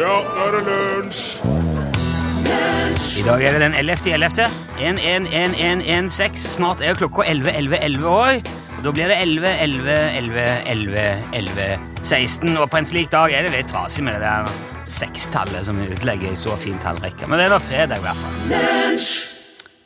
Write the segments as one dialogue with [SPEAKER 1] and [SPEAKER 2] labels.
[SPEAKER 1] Ja, nå er det lunsj!
[SPEAKER 2] I dag er det den 11.11. 11116. Snart er klokka 11.11.11 år. Og da blir det 11.11.11.11.11.16. Og på en slik dag er det litt trasig med det der sekstallet som vi utlegger i så fin tallrekke. Men det var fredag, i hvert fall.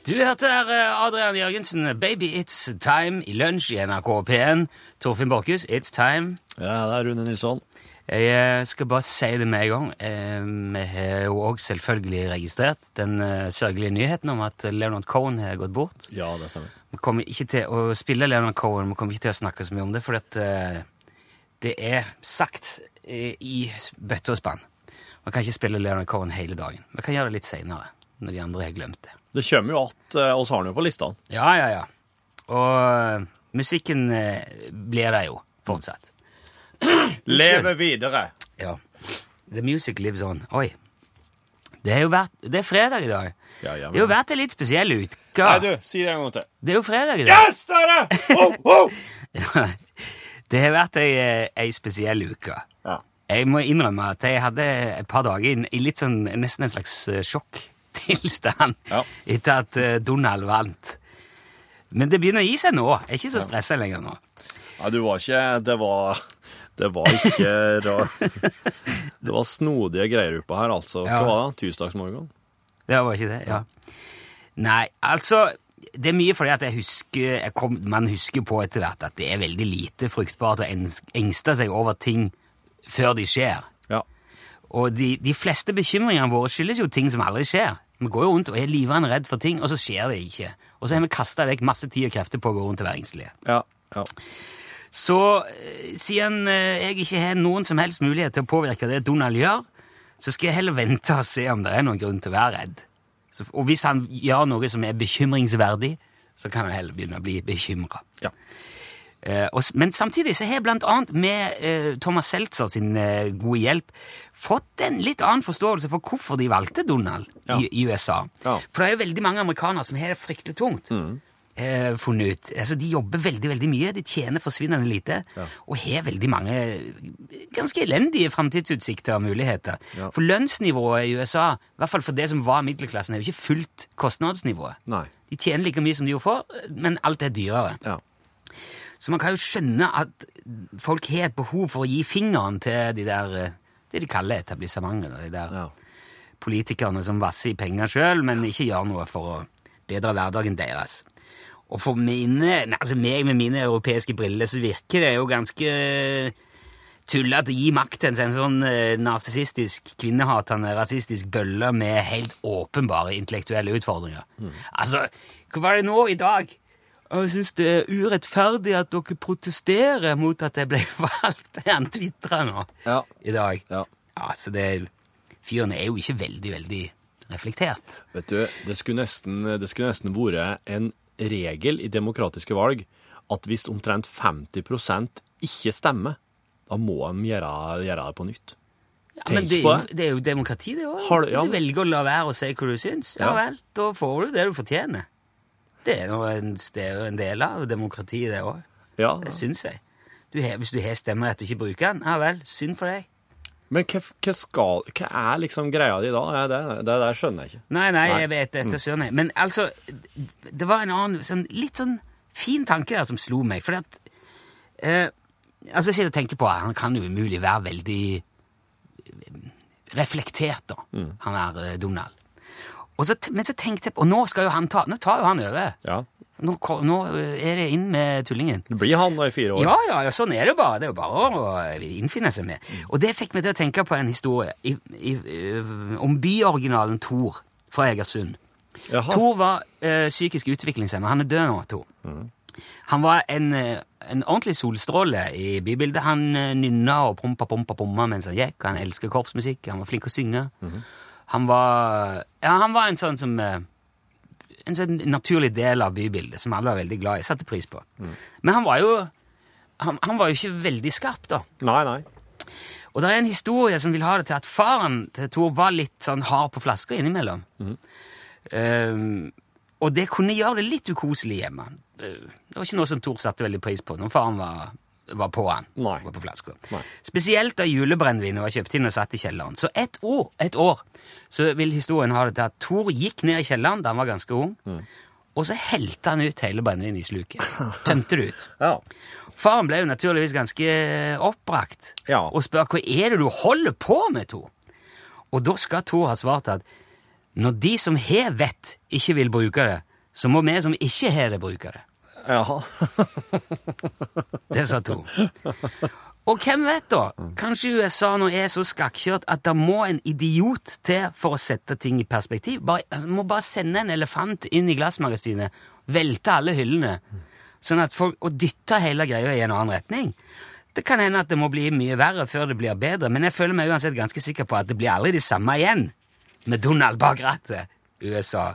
[SPEAKER 2] Du hørte der eh, Adrian Jørgensen, 'Baby It's Time' i lunsj i NRK P1. Torfinn Borchhus, 'It's Time'.
[SPEAKER 3] Ja, det er Rune Nilsson.
[SPEAKER 2] Jeg eh, skal bare si det med en gang. Eh, Vi har jo òg selvfølgelig registrert den eh, sørgelige nyheten om at Leonard Cohen har gått bort.
[SPEAKER 3] Ja, det stemmer.
[SPEAKER 2] Vi kommer ikke til å spille Leonard Cohen, vi kommer ikke til å snakke så mye om det, for at, eh, det er sagt eh, i bøtte og spann. Vi kan ikke spille Leonard Cohen hele dagen. Vi kan gjøre det litt seinere, når de andre har glemt det.
[SPEAKER 3] Det kommer jo at eh, oss har han jo på listene.
[SPEAKER 2] Ja, ja, ja. Og eh, musikken eh, blir det jo fortsatt.
[SPEAKER 3] Leve videre!
[SPEAKER 2] Ja. The music lives on. Oi. Det er jo vært, det er fredag i dag.
[SPEAKER 3] Ja, ja,
[SPEAKER 2] det er jo
[SPEAKER 3] men-
[SPEAKER 2] vært en litt spesiell uke.
[SPEAKER 3] Nei, du, si det en gang til.
[SPEAKER 2] Det er jo fredag i dag.
[SPEAKER 3] Yes, det er det! Ho, ho!
[SPEAKER 2] Det har vært ei, eh, ei spesiell uke.
[SPEAKER 3] Ja.
[SPEAKER 2] Jeg må innrømme at jeg hadde et par dager i- i litt sånn, nesten en slags eh, sjokktilstand
[SPEAKER 3] Ja.
[SPEAKER 2] etter at eh, Donald vant. Men det begynner å gi seg nå. Jeg er ikke så stressa lenger nå.
[SPEAKER 3] Nei, du var ikke Det var Det var ikke rart. Det var snodige greier oppe her, altså.
[SPEAKER 2] Ja.
[SPEAKER 3] Hva var det? Tirsdagsmorgen?
[SPEAKER 2] Det var ikke det, ja. Nei, altså Det er mye fordi at jeg husker jeg kom, man husker på etter hvert at det er veldig lite fruktbart å ens- engste seg over ting før de skjer.
[SPEAKER 3] Ja.
[SPEAKER 2] Og de, de fleste bekymringene våre skyldes jo ting som aldri skjer. Vi går jo rundt og er livrende redd for ting, og så skjer det ikke. Og så har vi kasta vekk masse tid og krefter på å gå rundt og være engstelige.
[SPEAKER 3] Ja. ja.
[SPEAKER 2] Så eh, siden eh, jeg ikke har noen som helst mulighet til å påvirke det Donald gjør, så skal jeg heller vente og se om det er noen grunn til å være redd. Så, og hvis han gjør noe som er bekymringsverdig, så kan jeg heller begynne å bli bekymra.
[SPEAKER 3] Ja.
[SPEAKER 2] Eh, og, s- men samtidig så har jeg blant annet med eh, Thomas Seltzer sin eh, gode hjelp fått en litt annen forståelse for hvorfor de valgte Donald
[SPEAKER 3] Ja.
[SPEAKER 2] i, i USA.
[SPEAKER 3] Ja.
[SPEAKER 2] For det er jo veldig mange amerikanere som har det fryktelig tungt. eh, funnet ut. Altså, de jobber veldig veldig mye, de tjener forsvinnende lite, og har veldig mange ganske elendige framtidsutsikter og muligheter.
[SPEAKER 3] Ja.
[SPEAKER 2] For lønnsnivået i USA, i hvert fall for det som var middelklassen, er jo ikke fullt kostnadsnivået.
[SPEAKER 3] Nei.
[SPEAKER 2] De tjener like mye som de gjorde før, men alt er dyrere.
[SPEAKER 3] Ja.
[SPEAKER 2] Så man kan jo skjønne at folk har et behov for å gi fingeren til de der eh, det de kaller etablissementet. De der
[SPEAKER 3] ja.
[SPEAKER 2] politikerne som vasser i penger sjøl, men ikke gjør noe for å bedre hverdagen deres. Og for mine, nei, altså meg med mine europeiske briller så virker det jo ganske tullete å gi makt til en sånn- sånn eh, narsissistisk, kvinnehatende, rasistisk bølle med helt åpenbare intellektuelle utfordringer.
[SPEAKER 3] Mm.
[SPEAKER 2] Altså, hva var det nå i dag? Jeg syns det er urettferdig at dere protesterer mot at jeg ble valgt. Han tvitrer nå
[SPEAKER 3] Ja.
[SPEAKER 2] i dag.
[SPEAKER 3] ja.
[SPEAKER 2] Ja, så det Fyren er jo ikke veldig, veldig reflektert.
[SPEAKER 3] Vet du, det skulle nesten, det skulle nesten vært en regel i demokratiske valg at hvis omtrent 50 ikke stemmer, da må de gjøre, gjøre det på nytt.
[SPEAKER 2] Ja,
[SPEAKER 3] Tenk
[SPEAKER 2] men det er,
[SPEAKER 3] på
[SPEAKER 2] jo, det er jo demokrati, det òg.
[SPEAKER 3] Har du-
[SPEAKER 2] Hvis
[SPEAKER 3] ja.
[SPEAKER 2] du velger å la være å si hva du syns, ja
[SPEAKER 3] Ja.
[SPEAKER 2] vel, da får du det du fortjener. Det er, jo en, det er jo en del av demokratiet, det òg.
[SPEAKER 3] Ja.
[SPEAKER 2] Det syns jeg. Du, har- hvis du har stemmerett og ikke bruker den, ja vel, synd for deg.
[SPEAKER 3] Men hva, hva, skal, hva er liksom greia di da? Ja, Det, det der skjønner jeg ikke.
[SPEAKER 2] Nei, nei,
[SPEAKER 3] Nei.
[SPEAKER 2] jeg vet det, etter søren jeg. Men altså, det var en annen, sånn, litt sånn fin tanke der som slo meg, fordi at, eh, altså jeg sitter og tenker på, at han kan jo umulig være veldig eh, reflektert da, han er eh, Donald. Og så, t- men så tenkte jeg, på- og nå skal jo han ta, nå tar jo han over.
[SPEAKER 3] Ja.
[SPEAKER 2] Nå, ko- nå eh, er det inn med tullingen.
[SPEAKER 3] Det blir han da i fire år.
[SPEAKER 2] Ja, ja, ja, sånn er det jo bare. Det er jo bare å innfinne seg med. Og det fikk meg til å tenke på en historie i, i, eh, om byoriginalen Thor fra Egersund.
[SPEAKER 3] Jaha.
[SPEAKER 2] Thor var eh, psykisk utviklingshemmet. Han er død nå, Thor. Han var en, eh, en ordentlig solstråle i bybildet. Han eh, nynna og prompa, prompa, prompa mens han gikk. Han elsket korpsmusikk, han var flink å synge. Han var Ja, han var en sånn som eh, En sånn naturlig del av bybildet som alle var veldig glad i. Satte pris på. Men han var jo han, han var jo ikke veldig skarp, da.
[SPEAKER 3] Nei, nei.
[SPEAKER 2] Og det er en historie som vil ha det til at faren til Thor var litt sånn hard på flaska innimellom.
[SPEAKER 3] Mhm.
[SPEAKER 2] Ehm, og det kunne gjøre det litt ukoselig hjemme. Eh, Det var ikke noe som Thor satte veldig pris på når faren var var på han.
[SPEAKER 3] Nei.
[SPEAKER 2] Var på flasker.
[SPEAKER 3] Nei.
[SPEAKER 2] Spesielt da julebrennevinet var kjøpt inn og satt i kjelleren. Så ett år, et år så vil historien ha det til at Thor gikk ned i kjelleren da han var ganske ung,
[SPEAKER 3] Mm.
[SPEAKER 2] og så helte han ut hele brennevinet i sluket. Tømte det ut.
[SPEAKER 3] Ja.
[SPEAKER 2] Faren ble jo naturligvis ganske eh, oppbrakt
[SPEAKER 3] Ja.
[SPEAKER 2] og spør hva er det du holder på med, Tor? Og da skal Tor ha svart at når de som har vett, ikke vil bruke det, så må vi som ikke har det, bruke det.
[SPEAKER 3] ja.
[SPEAKER 2] Det sa Tor. Og hvem vet, da? Kanskje USA nå er så skakkjørt at det må en idiot til for å sette ting i perspektiv. Bare, altså, må bare sende en elefant inn i glassmagasinet, velte alle hyllene, sånn at folk, og dytte hele greia i en annen retning. Det kan hende at det må bli mye verre før det blir bedre, men jeg føler meg uansett ganske sikker på at det blir aldri det samme igjen med Donald bak rattet, USA.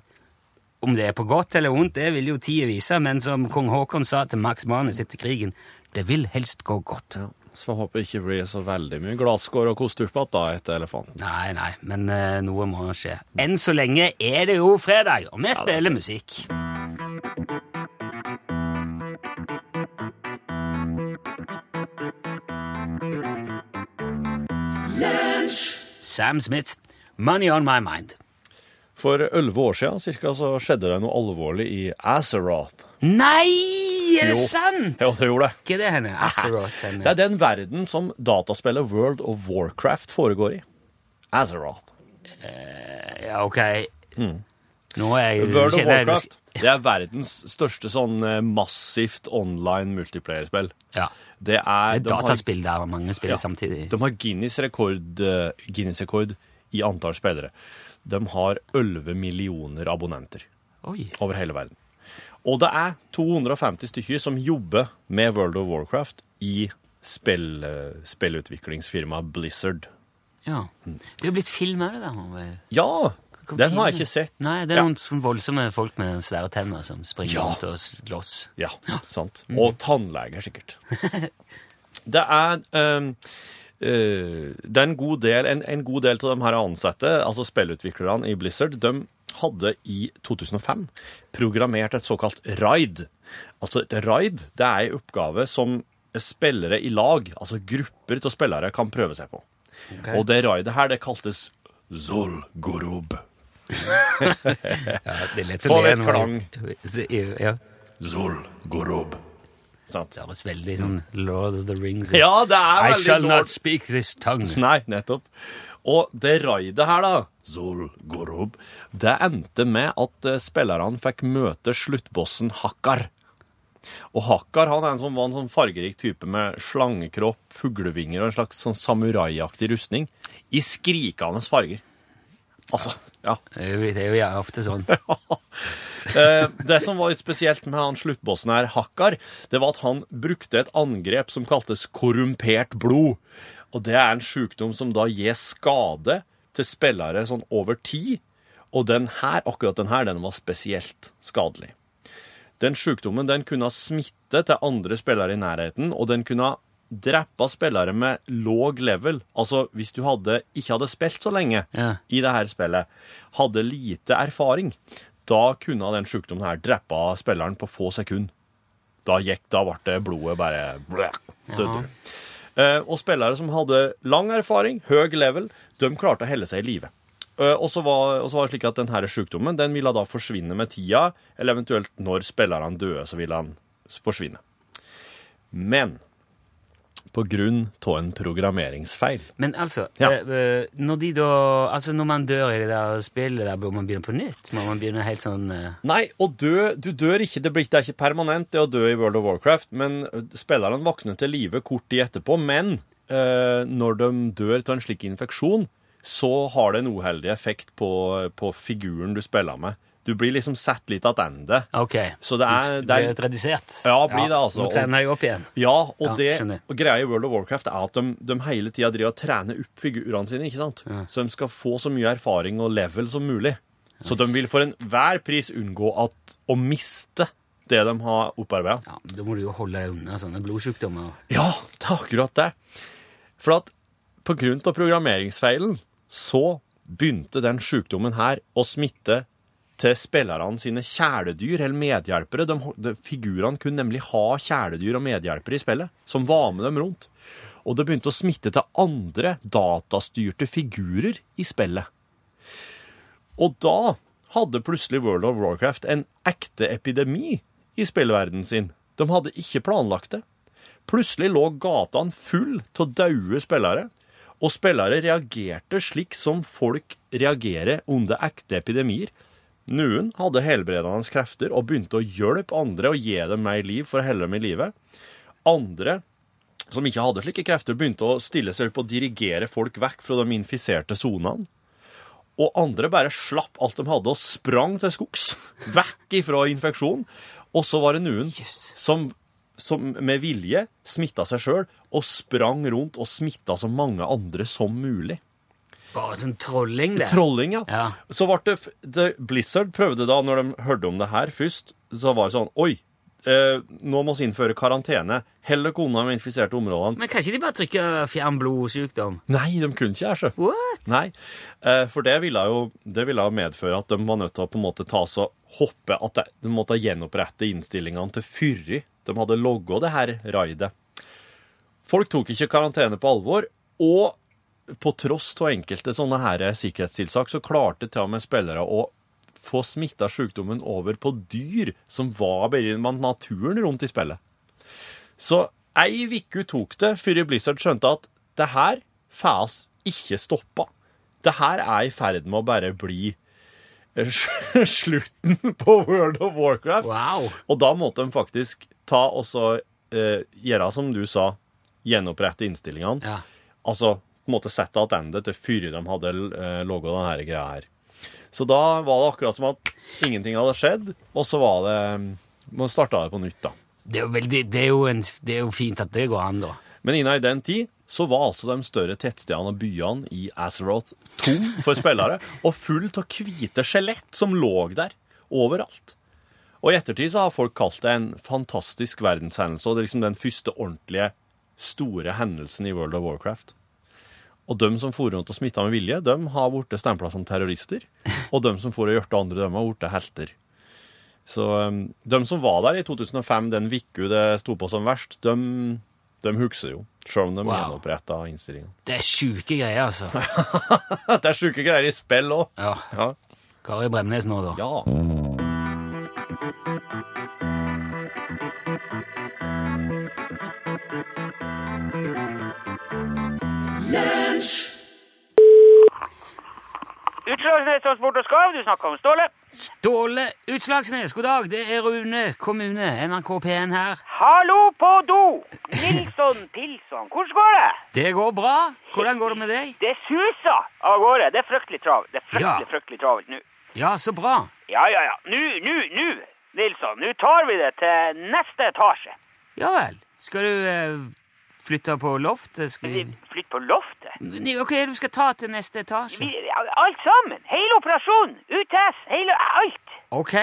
[SPEAKER 2] Om det er på godt eller ondt, det vil jo tida vise, men som kong Haakon sa til Max Manus etter krigen, det vil helst gå godt.
[SPEAKER 3] ja. Så jeg håper det ikke blir så veldig mye glasskår og kostupp igjen da, etter elefanten.
[SPEAKER 2] Nei, nei, men eh, noe må skje. Enn så lenge er det jo fredag, og vi spiller musikk. Sam Smith, 'Money On My Mind'.
[SPEAKER 3] For elleve år siden cirka, så skjedde det noe alvorlig i Azeroth.
[SPEAKER 2] Nei, er det
[SPEAKER 3] Jo.
[SPEAKER 2] sant?!
[SPEAKER 3] Ja, det gjorde det.
[SPEAKER 2] Ikke det henne? Azeroth, henne.
[SPEAKER 3] Det er den verden som dataspillet World of Warcraft foregår i. Azeroth.
[SPEAKER 2] Ja, ok. Nå er jeg
[SPEAKER 3] World of
[SPEAKER 2] kjenner jeg-
[SPEAKER 3] Warcraft. Mm. Det er verdens største sånn eh, massivt online multiplayerspill.
[SPEAKER 2] Ja.
[SPEAKER 3] Det er,
[SPEAKER 2] Et
[SPEAKER 3] de har-
[SPEAKER 2] dataspill der mange spiller samtidig.
[SPEAKER 3] De har Guinness rekord, eh, Guinness rekord i antall spillere. De har 11 millioner abonnenter
[SPEAKER 2] Oi.
[SPEAKER 3] over hele verden. Og det er 250 stykker som jobber med World of Warcraft i spill, eh, spillutviklingsfirmaet Blizzard.
[SPEAKER 2] Ja.
[SPEAKER 3] Mm.
[SPEAKER 2] Det er jo blitt film av det der. Ove.
[SPEAKER 3] Ja!
[SPEAKER 2] Kom
[SPEAKER 3] Den har jeg
[SPEAKER 2] filmen.
[SPEAKER 3] ikke sett.
[SPEAKER 2] Nei, det er
[SPEAKER 3] Ja.
[SPEAKER 2] noen sånn voldsomme folk med svære tenner som springer
[SPEAKER 3] Ja.
[SPEAKER 2] rundt og slåss.
[SPEAKER 3] Ja, sant.
[SPEAKER 2] Mm.
[SPEAKER 3] Og tannleger, sikkert. det er ehm, eh, det er en god del en, en god del av de her ansatte, altså spillutviklerne i Blizzard, de hadde i 2005 programmert et såkalt raid. Altså et raid, det er en oppgave som spillere i lag, altså grupper av spillere, kan prøve seg på.
[SPEAKER 2] Ok.
[SPEAKER 3] Og det raidet her, det kaltes Zolgorub.
[SPEAKER 2] Det er lett å
[SPEAKER 3] Få
[SPEAKER 2] le
[SPEAKER 3] litt sånn-
[SPEAKER 2] når man- Ja.
[SPEAKER 3] Zolgorub. Sant?
[SPEAKER 2] Det høres veldig sånn Lord of the Rings
[SPEAKER 3] Ja, det er
[SPEAKER 2] I
[SPEAKER 3] veldig
[SPEAKER 2] shall
[SPEAKER 3] lord-
[SPEAKER 2] not speak this tongue.
[SPEAKER 3] Nei, nettopp. Og det raidet her, da, Zol Gorob, det endte med at eh, spillerne fikk møte sluttbossen Hakkar. Og Hakkar han er en sånn, var en sånn fargerik type med slangekropp, fuglevinger og en slags sånn samuraiaktig rustning i skrikende farger. Altså, ja.
[SPEAKER 2] Det er jo- det er jo ja, ofte sånn.
[SPEAKER 3] Eh, Det som var litt spesielt med han sluttbossen her, Hakkar, det var at han brukte et angrep som kaltes korrumpert blod. Og det er en sykdom som da gir skade til spillere sånn over tid. Og den her, akkurat den her, den var spesielt skadelig. Den sykdommen den kunne smitte til andre spillere i nærheten, og den kunne drepe spillere med låg level. Altså hvis du hadde, ikke hadde spilt så lenge
[SPEAKER 2] Ja.
[SPEAKER 3] i det her spillet, hadde lite erfaring, da kunne den sykdommen her drepe spilleren på få sekunder. Da gikk, da ble det blodet bare bløk, døde. du. Eh, og spillere som hadde lang erfaring, høy level, de klarte å helle seg i live. Eh, og så var, og så var det slik at denne sykdommen den ville da forsvinne med tida, eller eventuelt når spillerne døde, så ville han s- forsvinne. Men på grunn av en programmeringsfeil
[SPEAKER 2] Men altså,
[SPEAKER 3] Ja.
[SPEAKER 2] eh, eh, når, de da, altså når man dør i det der spillet, der bør man begynne på nytt? Må man begynne helt sånn eh,
[SPEAKER 3] Nei, og dø, du dør ikke, det, blir, det er ikke permanent det å dø i World of Warcraft, men spillerne våkner til live kort tid etterpå, men eh, når de dør til en slik infeksjon, så har det en uheldig effekt på, på figuren du spiller med. Du blir liksom sett litt attende.
[SPEAKER 2] Ok.
[SPEAKER 3] Så det er-
[SPEAKER 2] Du
[SPEAKER 3] det er-
[SPEAKER 2] blir redusert?
[SPEAKER 3] Ja, blir det altså.
[SPEAKER 2] Nå trener jeg opp igjen.
[SPEAKER 3] Ja, og
[SPEAKER 2] Ja, skjønner.
[SPEAKER 3] det og greia i World of Warcraft er at de, de hele tida driver og trener opp figurene sine, ikke sant? Så de skal få så mye erfaring og level som mulig. Så de vil for enhver pris unngå at, å miste det de har opparbeida.
[SPEAKER 2] Ja, men Da må du jo holde deg unna sånne blodsjukdommer.
[SPEAKER 3] Ja, det er akkurat det. For at på grunn av programmeringsfeilen så begynte den sykdommen her å smitte til spillerne sine kjæledyr eller medhjelpere. De, de, figurene kunne nemlig ha kjæledyr og medhjelpere i spillet, som var med dem rundt. Og det begynte å smitte til andre datastyrte figurer i spillet. Og da hadde plutselig World of Warcraft en ekte epidemi i spillverdenen sin. De hadde ikke planlagt det. Plutselig lå gatene full av daue spillere, og spillere reagerte slik som folk reagerer under ekte epidemier. Noen hadde helbredende krefter og begynte å hjelpe andre og gi dem mer liv for å holde dem i live. Andre som ikke hadde slike krefter, begynte å stille seg opp og dirigere folk vekk fra de infiserte sonene. Og andre bare slapp alt de hadde og sprang til skogs, vekk ifra infeksjon. Og så var det noen
[SPEAKER 2] Jøss.
[SPEAKER 3] som, som med vilje smitta seg sjøl og sprang rundt og smitta så mange andre som mulig.
[SPEAKER 2] Bare sånn trolling, det.
[SPEAKER 3] Trolling, ja.
[SPEAKER 2] Ja.
[SPEAKER 3] Så ble det, f- det Blizzard prøvde da, når de hørte om det her først, så var det sånn Oi, eh, nå må vi innføre karantene. Hold dere unna de infiserte områdene.
[SPEAKER 2] Men kan ikke de bare trykke 'fjern blodsykdom'?
[SPEAKER 3] Nei, de kunne ikke det, sjø.
[SPEAKER 2] What?
[SPEAKER 3] Nei, eh, for det ville jo det ville jo medføre at de var nødt til å på en måte ta så hoppe At de, de måtte gjenopprette innstillingene til Fyrri. De hadde logga det her raidet. Folk tok ikke karantene på alvor, og på tross av enkelte sånne her sikkerhetstiltak, så klarte til og med spillere å få smitta sykdommen over på dyr som var bare i naturen rundt i spillet. Så ei uke tok det før Blizzard skjønte at det her får oss ikke stoppa. Det her er i ferd med å bare bli eh, slutten på World of Warcraft.
[SPEAKER 2] Wow.
[SPEAKER 3] Og da måtte de faktisk ta og så eh, gjøre som du sa, gjenopprette innstillingene.
[SPEAKER 2] Ja.
[SPEAKER 3] Altså på en måte sette tilbake til før de hadde eh, logga denne greia her. Så da var det akkurat som at ingenting hadde skjedd, og så var det eh, Man starta det på nytt, da.
[SPEAKER 2] Det er, jo veldig, det, er jo en, det er jo fint at det går an, da.
[SPEAKER 3] Men innen i den tid så var altså de større tettstedene og byene i Azeroth tom for spillere, og full av hvite skjelett som lå der overalt. Og i ettertid så har folk kalt det en fantastisk verdenshendelse, og det er liksom den første ordentlige store hendelsen i World of Warcraft. Og de som for rundt og smitta med vilje, de har blitt stempla som terrorister. Og de som for og hjerta andre, de har blitt helter. Så um, de som var der i 2005, den uka det sto på som verst, de, de husker jo. Selv om de
[SPEAKER 2] Wow.
[SPEAKER 3] gjenoppretta innstillinga.
[SPEAKER 2] Det er sjuke greier, altså.
[SPEAKER 3] Det er sjuke greier i spill òg!
[SPEAKER 2] Ja,
[SPEAKER 3] Ja.
[SPEAKER 2] Kari Bremnes nå, da.
[SPEAKER 3] ja.
[SPEAKER 4] Utslagsnes Transport og Skarv, du snakker om Ståle.
[SPEAKER 2] Ståle Utslagsnes, god dag. Det er Rune kommune, NRK P1 her.
[SPEAKER 4] Hallo på do! Nilsson Pilsson, hvordan går det?
[SPEAKER 2] Det går bra. Hvordan går det med deg?
[SPEAKER 4] Det suser av gårde. Det er fryktelig travelt. Det er fryktelig,
[SPEAKER 2] Ja.
[SPEAKER 4] fryktelig travelt nå.
[SPEAKER 2] Ja, så bra.
[SPEAKER 4] Ja, ja, ja. Nå, nå, nå, Nilsson. Nå tar vi det til neste etasje.
[SPEAKER 2] Ja vel. Skal du eh, flytte på loftet? Skal
[SPEAKER 4] Vi
[SPEAKER 2] vi...
[SPEAKER 4] flytter på loftet.
[SPEAKER 2] Nei, Hva er det du skal ta til neste etasje?
[SPEAKER 4] Vi, alt sammen. Hele operasjonen. UTS. Hele alt.
[SPEAKER 2] Ok.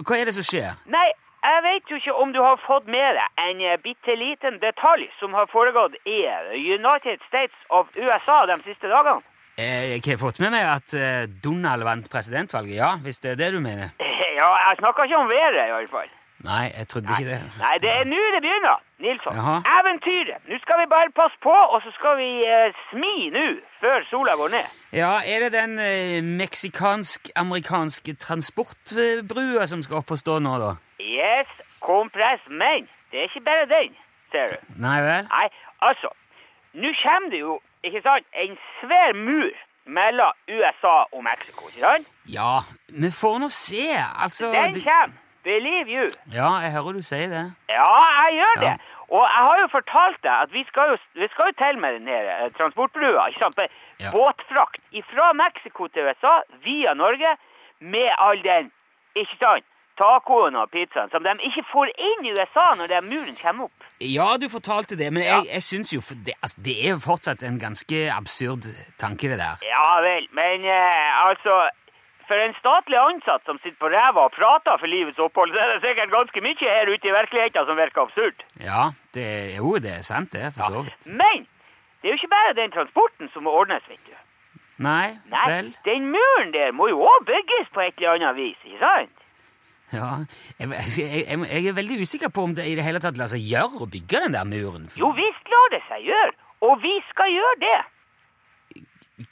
[SPEAKER 2] Hva er det som skjer?
[SPEAKER 4] Nei, jeg vet jo ikke om du har fått med deg en eh, bitte liten detalj som har foregått i eh, United States of USA de siste dagene.
[SPEAKER 2] Eh, Jeg har fått med meg at eh, Donald vant presidentvalget, ja, hvis det er det du mener.
[SPEAKER 4] Ja, jeg snakker ikke om været i alle fall.
[SPEAKER 2] Nei, jeg trodde ikke det.
[SPEAKER 4] Nei, det er nå det begynner, Nilsson.
[SPEAKER 2] Jaha.
[SPEAKER 4] Eventyret. Nå skal vi bare passe på, og så skal vi eh, smi nå, før sola går ned.
[SPEAKER 2] Ja, er det den eh, meksikansk-amerikanske transportbrua som skal opp og stå nå, da?
[SPEAKER 4] Yes, kompress, men det er ikke bare den, ser du.
[SPEAKER 2] Nei vel?
[SPEAKER 4] Nei, altså, nå kommer det jo, ikke sant, en svær mur mellom USA og Mexico, ikke sant?
[SPEAKER 2] Ja, vi får nå se, altså
[SPEAKER 4] Den
[SPEAKER 2] du-
[SPEAKER 4] kommer. Believe you.
[SPEAKER 2] Ja, jeg hører du sier det.
[SPEAKER 4] Ja, jeg gjør det.
[SPEAKER 2] Ja.
[SPEAKER 4] Og jeg har jo fortalt deg at vi skal jo, vi skal jo til med den her eh, transportbrua. ikke sant?
[SPEAKER 2] Ja.
[SPEAKER 4] Båtfrakt fra Mexico til USA via Norge med all den ikke sant, tacoen og pizzaen som de ikke får inn i USA når den muren kommer opp.
[SPEAKER 2] Ja, du fortalte det, men
[SPEAKER 4] Ja.
[SPEAKER 2] jeg, jeg syns jo for det, altså, det er jo fortsatt en ganske absurd tanke, det der.
[SPEAKER 4] Ja vel, men eh, altså For en statlig ansatt som sitter på ræva og prater for livets opphold, så er det sikkert ganske mye her ute i virkeligheten som virker absurd.
[SPEAKER 2] Ja, det er jo det er sant, det, for så vidt.
[SPEAKER 4] Men det er jo ikke bare den transporten som må ordnes, vet du.
[SPEAKER 2] Nei,
[SPEAKER 4] Nei,
[SPEAKER 2] vel?
[SPEAKER 4] den muren der må jo òg bygges på et eller annet vis, ikke sant?
[SPEAKER 2] Ja. Jeg, jeg, jeg, jeg er veldig usikker på om det i det hele tatt lar seg gjøre å bygge den der muren.
[SPEAKER 4] Jo visst lar det seg gjøre, og vi skal gjøre det.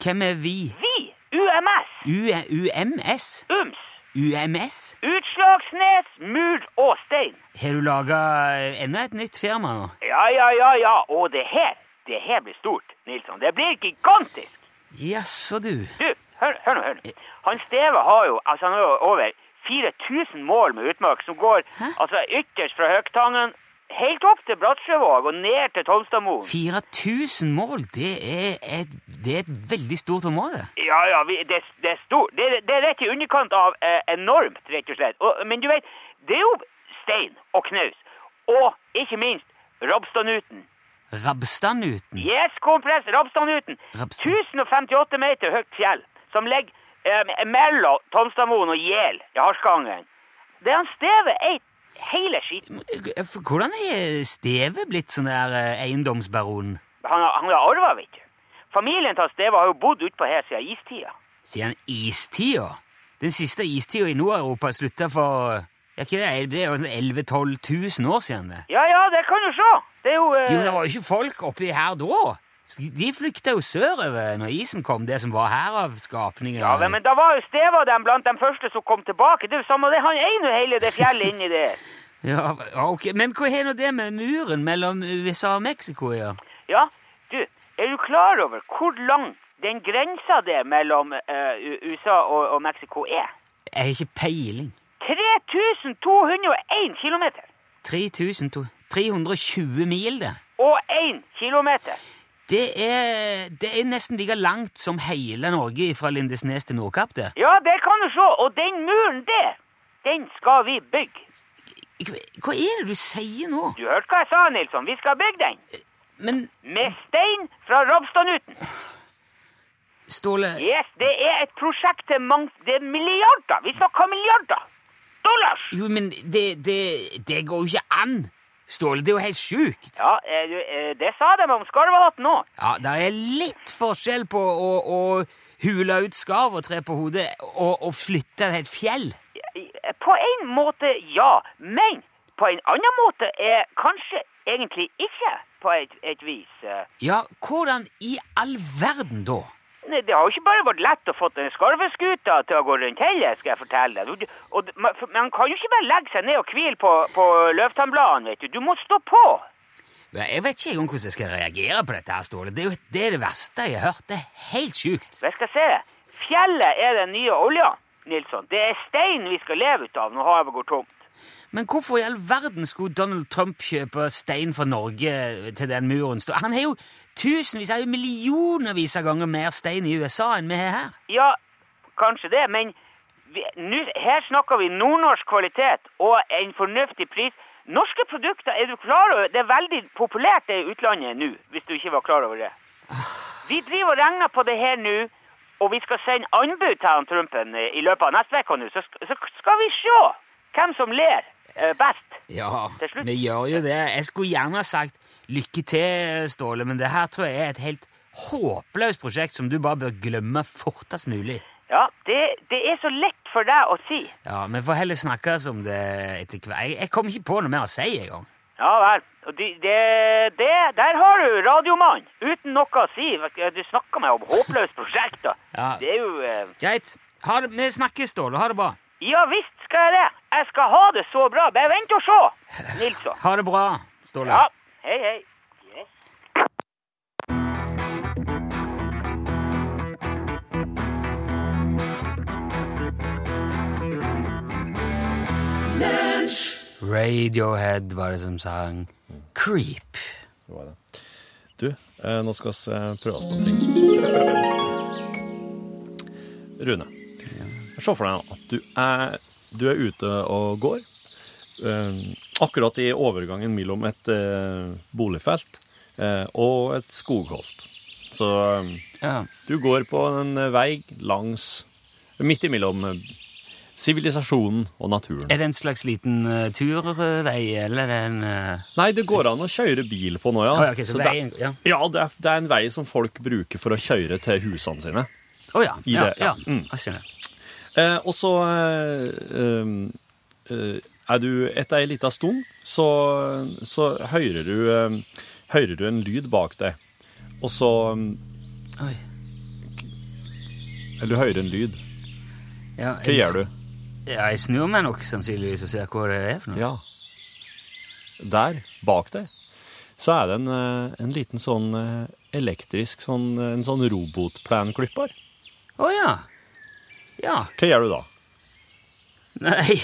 [SPEAKER 2] Hvem er vi?
[SPEAKER 4] Vi, UMS,
[SPEAKER 2] U UMS?
[SPEAKER 4] UMS,
[SPEAKER 2] UMS?
[SPEAKER 4] Utslagsnes, Mur og Stein.
[SPEAKER 2] Har du laga enda et nytt firma nå?
[SPEAKER 4] Ja, ja, ja, ja, og det her, det her blir stort, Nilsson. Det blir gigantisk.
[SPEAKER 2] Jaså, du.
[SPEAKER 4] Du, hør, hør nå, hør nå. Han Steve har jo, altså han har jo over 4000 mål med utmark som går
[SPEAKER 2] Hæ?
[SPEAKER 4] altså ytterst fra Høgtangen helt opp til Bratsjøvåg og ned til Tolstadmoen.
[SPEAKER 2] 4000 mål, det er, et, det er et veldig stort område.
[SPEAKER 4] Ja, ja, vi, det, det er stort. Det, det er rett i underkant av eh, enormt, rett og slett. Og, men du vet, det er jo stein og knaus. Og ikke minst Robstadnuten.
[SPEAKER 2] Rabstadnuten.
[SPEAKER 4] Yes, kompress, Rabstadnuten.
[SPEAKER 2] Rabstad.
[SPEAKER 4] 1058 meter høyt fjell som ligger eh, mellom Tomstadmoen og Gjel i Harskangen. Det er han Steve eit hele skiten.
[SPEAKER 2] Hvordan er Steve blitt sånn der eh, eiendomsbaron?
[SPEAKER 4] Han har, han har arva, vet du. Familien til Steve har jo bodd utpå her siden istida.
[SPEAKER 2] Siden istida? Den siste istida i Nord-Europa slutta for ja, ikke det, det er jo sånn 11 000-12 000 år siden. det.
[SPEAKER 4] Ja, ja, det kan du se. Det er jo, eh,
[SPEAKER 2] Jo, men det var jo ikke folk oppi her da. Så De flykta jo sørover når isen kom, det som var her av skapninger.
[SPEAKER 4] Ja, vel, men da var jo Steve og dem blant de første som kom tilbake. Det er jo samme det, han eier jo hele det fjellet inni der.
[SPEAKER 2] Ja, ok. Men hva har nå det med muren mellom USA og Mexico å gjøre?
[SPEAKER 4] Ja, du, er du klar over hvor lang den grensa der mellom eh, U- USA og, og Mexico er?
[SPEAKER 2] Jeg har ikke peiling.
[SPEAKER 4] 3201 kilometer.
[SPEAKER 2] 3200 320 mil, det.
[SPEAKER 4] Og 1 kilometer.
[SPEAKER 2] Det er, det er nesten like langt som hele Norge fra Lindesnes til Nordkapp, det.
[SPEAKER 4] Ja, det kan du se. Og den muren der, den skal vi bygge.
[SPEAKER 2] Hva hva er det du sier nå?
[SPEAKER 4] Du hørte hva jeg sa, Nilsson. Vi skal bygge den.
[SPEAKER 2] Men
[SPEAKER 4] Med stein fra Robstadnuten.
[SPEAKER 2] Ståle
[SPEAKER 4] Yes, det er et prosjekt til mange Det er milliarder. Vi snakker milliarder. Dollars!
[SPEAKER 2] Jo, men det, det, det går jo ikke an! Ståle, det er jo helt sjukt!
[SPEAKER 4] Ja, eh, du, eh, det sa de om Skarvahatten òg.
[SPEAKER 2] Ja, det er litt forskjell på å, å hule ut skarv og tre på hodet og, og flytte et helt fjell.
[SPEAKER 4] eh, På en måte ja, men på en annen måte er kanskje egentlig ikke på et, et vis. eh.
[SPEAKER 2] Ja, hvordan i all verden da?
[SPEAKER 4] Nei, Det har jo ikke bare vært lett å få den skarveskuta til å gå rundt heller, skal jeg fortelle deg. Du- Og, d- man, for man kan jo ikke bare legge seg ned og hvile på, på løvtannbladene, vet du. Du må stå på.
[SPEAKER 2] Ja, Jeg vet ikke engang hvordan jeg skal reagere på dette, her, Ståle. Det er jo det, er det verste jeg har hørt. Det er helt sjukt.
[SPEAKER 4] Jeg skal se. Fjellet er den nye olja, Nilsson. Det er stein vi skal leve ut av når havet går tomt.
[SPEAKER 2] Men hvorfor i all verden skulle Donald Trump kjøpe stein fra Norge til den muren? Stå- Han har jo tusenvis, han har jo millionervis av ganger mer stein i USA enn vi har her.
[SPEAKER 4] Ja, kanskje det, men vi, nu, her snakker vi nordnorsk kvalitet og en fornuftig pris. Norske produkter, er du klar over, det er veldig populært det i utlandet nå, hvis du ikke var klar over det. Vi driver og regner på det her nå, og vi skal sende anbud til han Trumpen eh, i løpet av neste vekk nå, så, sk- så skal vi se hvem som ler eh, best.
[SPEAKER 2] Ja,
[SPEAKER 4] Til slutt.
[SPEAKER 2] vi gjør jo det. Jeg skulle gjerne ha sagt lykke til, Ståle, men det her tror jeg er et helt håpløst prosjekt som du bare bør glemme fortest mulig.
[SPEAKER 4] Ja, det, det er så lett for deg å si.
[SPEAKER 2] Ja, Vi får heller snakkes om det etter hvert. Jeg, jeg kom ikke på noe mer å si engang.
[SPEAKER 4] Ja vel. Og de, det, det, der har du radiomann, uten noe å si. Du snakker meg om håpløst prosjekt, da.
[SPEAKER 2] Ja.
[SPEAKER 4] Det er jo eh,
[SPEAKER 2] Greit. Ha det, vi snakkes, Ståle. Ha det bra.
[SPEAKER 4] Ja visst skal jeg det. Jeg skal ha det så bra. Bare vent og se, Nilsson.
[SPEAKER 2] Ha det bra, Ståle.
[SPEAKER 4] Ja. Hei, hei. Yes.
[SPEAKER 2] Radiohead var det som sang Creep.
[SPEAKER 3] Det var det. Du, eh, nå skal vi eh, prøve oss på en ting. Rune, se for deg at du er, du er ute og går. Eh, akkurat i overgangen mellom et eh, boligfelt eh, og et skogholt. Så eh,
[SPEAKER 2] Ja.
[SPEAKER 3] du går på en vei langs Midt imellom eh, sivilisasjonen og naturen.
[SPEAKER 2] Er det en slags liten eh, turvei, eller en eh,
[SPEAKER 3] Nei, det går an å kjøre bil på nå, ja.
[SPEAKER 2] Å, ja, ok, så
[SPEAKER 3] Så
[SPEAKER 2] det er en- ja.
[SPEAKER 3] det, er, det er en vei som folk bruker for å kjøre til husene sine.
[SPEAKER 2] Å ja.
[SPEAKER 3] I
[SPEAKER 2] ja,
[SPEAKER 3] det,
[SPEAKER 2] ja.
[SPEAKER 3] ja. Mm.
[SPEAKER 2] Jeg skjønner.
[SPEAKER 3] Eh, og så eh, eh, er du etter ei lita stund, så, så hører, du, eh, hører du en lyd bak deg. Og så eh,
[SPEAKER 2] Oi.
[SPEAKER 3] Eller du hører en lyd.
[SPEAKER 2] Ja,
[SPEAKER 3] Hva gjør du?
[SPEAKER 2] Ja, jeg snur meg nok sannsynligvis og ser hva det er for noe.
[SPEAKER 3] Ja. Der, bak deg, så er det en, eh, en liten sånn eh, elektrisk sånn, En sånn robotplenklipper.
[SPEAKER 2] Å ja. Ja.
[SPEAKER 3] Hva gjør du da?
[SPEAKER 2] Nei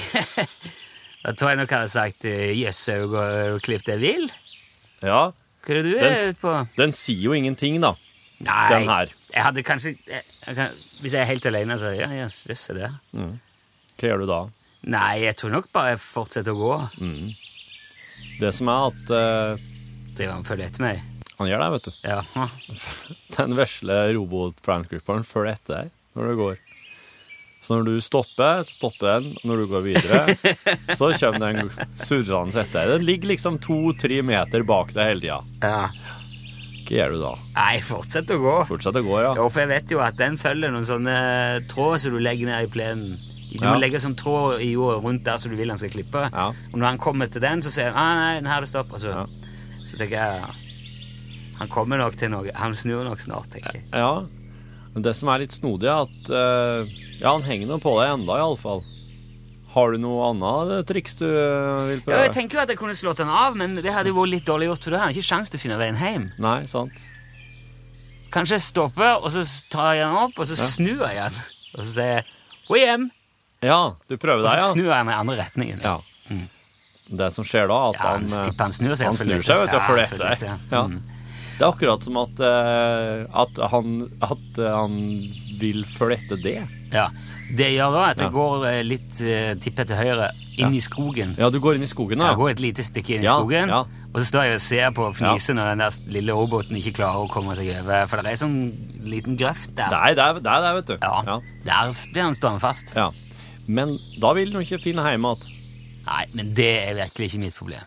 [SPEAKER 2] Da tror jeg nok jeg hadde sagt eh, jøss, jeg går og klipp det jeg vil.
[SPEAKER 3] Ja,
[SPEAKER 2] Hva er det du
[SPEAKER 3] Den
[SPEAKER 2] er
[SPEAKER 3] s-
[SPEAKER 2] ute på?
[SPEAKER 3] den sier jo ingenting, da.
[SPEAKER 2] Nei,
[SPEAKER 3] den her.
[SPEAKER 2] Jeg hadde kanskje jeg, jeg kan, Hvis jeg er helt alene, så ja, ja, jøss, er det
[SPEAKER 3] Hva gjør du da?
[SPEAKER 2] Nei, jeg tror nok bare jeg fortsetter å gå.
[SPEAKER 3] Det som er at eh,
[SPEAKER 2] Driver han og følger etter meg?
[SPEAKER 3] Han gjør det, vet du.
[SPEAKER 2] Ja.
[SPEAKER 3] den vesle robot-plantgripperen følger etter deg når du går. Så når du stopper, så stopper den. og Når du går videre, så kommer den surrende etter deg. Den ligger liksom to-tre meter bak deg hele tida.
[SPEAKER 2] ja.
[SPEAKER 3] Hva gjør du da?
[SPEAKER 2] Nei, fortsett å gå.
[SPEAKER 3] Fortsett å gå, ja.
[SPEAKER 2] Jo, for jeg vet jo at den følger noen sånne tråd som du legger ned i plenen. Du må
[SPEAKER 3] Ja.
[SPEAKER 2] legge sånn tråd i jorda rundt der som du vil han skal klippe.
[SPEAKER 3] Ja.
[SPEAKER 2] Og når han kommer til den, så sier han ah, nei, den her er det stopp. Og så,
[SPEAKER 3] Ja.
[SPEAKER 2] så tenker jeg ja, han kommer nok til noe. Han snur nok snart, tenker jeg.
[SPEAKER 3] ja. Men det som er litt snodig, er at eh, Ja, han henger nå på deg enda, iallfall. Har du noe annet triks du eh, vil
[SPEAKER 2] Ja,
[SPEAKER 3] prøve?
[SPEAKER 2] jeg tenker jo at jeg kunne slått han av, men det hadde jo vært litt dårlig gjort, for da har han ikke sjans til å finne veien hjem.
[SPEAKER 3] Nei, sant.
[SPEAKER 2] Kanskje jeg stopper, og så tar jeg han opp, og så snur jeg han. Og så sier jeg 'gå hjem',
[SPEAKER 3] Ja, du prøver
[SPEAKER 2] og så
[SPEAKER 3] deg, ja.
[SPEAKER 2] snur jeg han i andre retningen.
[SPEAKER 3] Ja. Det som skjer da, er at
[SPEAKER 2] Ja,
[SPEAKER 3] han,
[SPEAKER 2] han,
[SPEAKER 3] eh,
[SPEAKER 2] tipper han snur seg.
[SPEAKER 3] han
[SPEAKER 2] og
[SPEAKER 3] snur
[SPEAKER 2] følger
[SPEAKER 3] seg vet du, og følger
[SPEAKER 2] Ja,
[SPEAKER 3] etter deg. Ja.
[SPEAKER 2] Ja. Mm.
[SPEAKER 3] Det er akkurat som at, eh, at, han, at eh, han vil følge etter det.
[SPEAKER 2] Mm. Ja, det gjør da at jeg
[SPEAKER 3] Ja.
[SPEAKER 2] går eh, litt eh, tippet til høyre inn i skogen.
[SPEAKER 3] Ja, du går inn i skogen, da.
[SPEAKER 2] Jeg går et lite stykke inn i
[SPEAKER 3] Ja,
[SPEAKER 2] skogen,
[SPEAKER 3] ja.
[SPEAKER 2] og så står jeg og ser på og fniser når den der lille roboten ikke klarer å komme seg over, for det er sånn liten grøft der.
[SPEAKER 3] Der, der, der, der, vet du.
[SPEAKER 2] Ja,
[SPEAKER 3] Ja.
[SPEAKER 2] der blir han stående fast.
[SPEAKER 3] Ja. Men da vil han ikke finne hjem igjen.
[SPEAKER 2] Nei, men det er virkelig ikke mitt problem.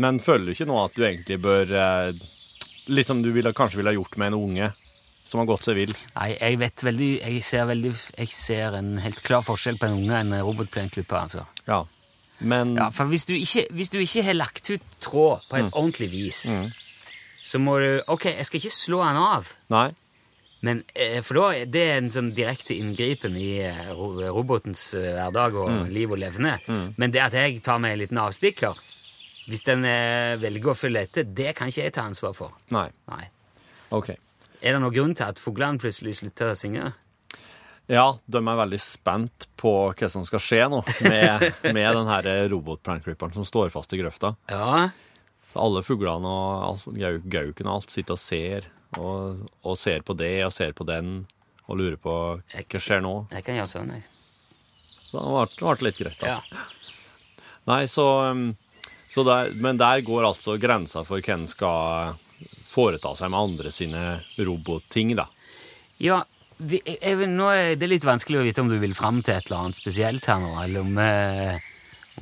[SPEAKER 3] Men føler du ikke nå at du egentlig bør eh, Litt som du ville, kanskje ville ha gjort med en unge som har gått seg vill?
[SPEAKER 2] Nei, jeg vet veldig, jeg ser veldig, jeg ser en helt klar forskjell på en unge og en robotplenklipper, altså.
[SPEAKER 3] Ja. Men
[SPEAKER 2] Ja, for hvis du ikke, hvis du ikke har lagt ut tråd på et ordentlig vis, så må du, ok, jeg skal ikke slå han av,
[SPEAKER 3] Nei.
[SPEAKER 2] Men eh, for da, er det er en sånn direkte inngripen i eh, ro- robotens eh, hverdag og liv og levne. Men det at jeg tar meg en liten avstikker, hvis den eh, velger å følge etter, det kan ikke jeg ta ansvar for.
[SPEAKER 3] Nei.
[SPEAKER 2] Nei.
[SPEAKER 3] OK.
[SPEAKER 2] Er det noen grunn til at fuglene plutselig slutter å synge?
[SPEAKER 3] Ja, de er veldig spent på hva som skal skje nå med, med den her robotplanklipperen som står fast i grøfta.
[SPEAKER 2] Ja.
[SPEAKER 3] Så alle fuglene og alt, gau- gauken og alt sitter og ser, og, og ser på det og ser på den, og lurer på hva skjer nå.
[SPEAKER 2] Jeg kan gjøre sånn, jeg.
[SPEAKER 3] Så det ble, det ble litt greit. Da.
[SPEAKER 2] Ja.
[SPEAKER 3] Nei, så, um, så der, men der går altså grensa for hvem skal foreta seg med andre sine robotting, da.
[SPEAKER 2] Ja, vi, jeg, jeg, vil- nå er det litt vanskelig å vite om du vil fram til et eller annet spesielt her nå, eller om, eh,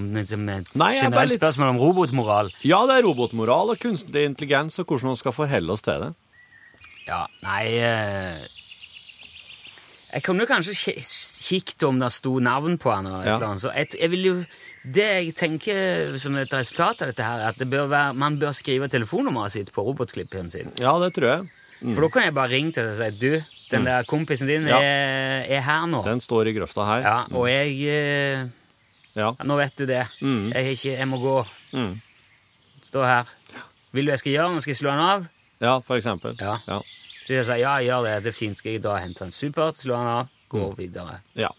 [SPEAKER 2] om det som er et
[SPEAKER 3] Nei, jeg er bare
[SPEAKER 2] generelt
[SPEAKER 3] litt-
[SPEAKER 2] spørsmål om robotmoral.
[SPEAKER 3] Ja, det er robotmoral og kunstig intelligens og hvordan vi skal forholde oss til det.
[SPEAKER 2] Ja, nei eh, Jeg kunne kanskje ki- kikket om det sto navn på han. Og et
[SPEAKER 3] Ja.
[SPEAKER 2] eller annet. Så jeg, jeg vil jo, det jeg tenker som et resultat av dette, her, er at det bør være, man bør skrive telefonnummeret sitt på robotklippen sin.
[SPEAKER 3] Ja, det tror jeg.
[SPEAKER 2] For da kan jeg bare ringe til deg og si du, den der kompisen din
[SPEAKER 3] Mm. Ja.
[SPEAKER 2] er, er her nå.
[SPEAKER 3] Den står i grøfta her.
[SPEAKER 2] Ja, og jeg eh,
[SPEAKER 3] Ja.
[SPEAKER 2] ja, Nå vet du det. Jeg, har ikke, jeg må gå. Stå her. Vil du jeg skal gjøre noe? Skal jeg slå han av?
[SPEAKER 3] ja, for eksempel.
[SPEAKER 2] Ja.
[SPEAKER 3] Ja.
[SPEAKER 2] Så jeg sier ja, gjør det, det er fint. Skal jeg da hente en supert, slå han av, gå videre.
[SPEAKER 3] Ja.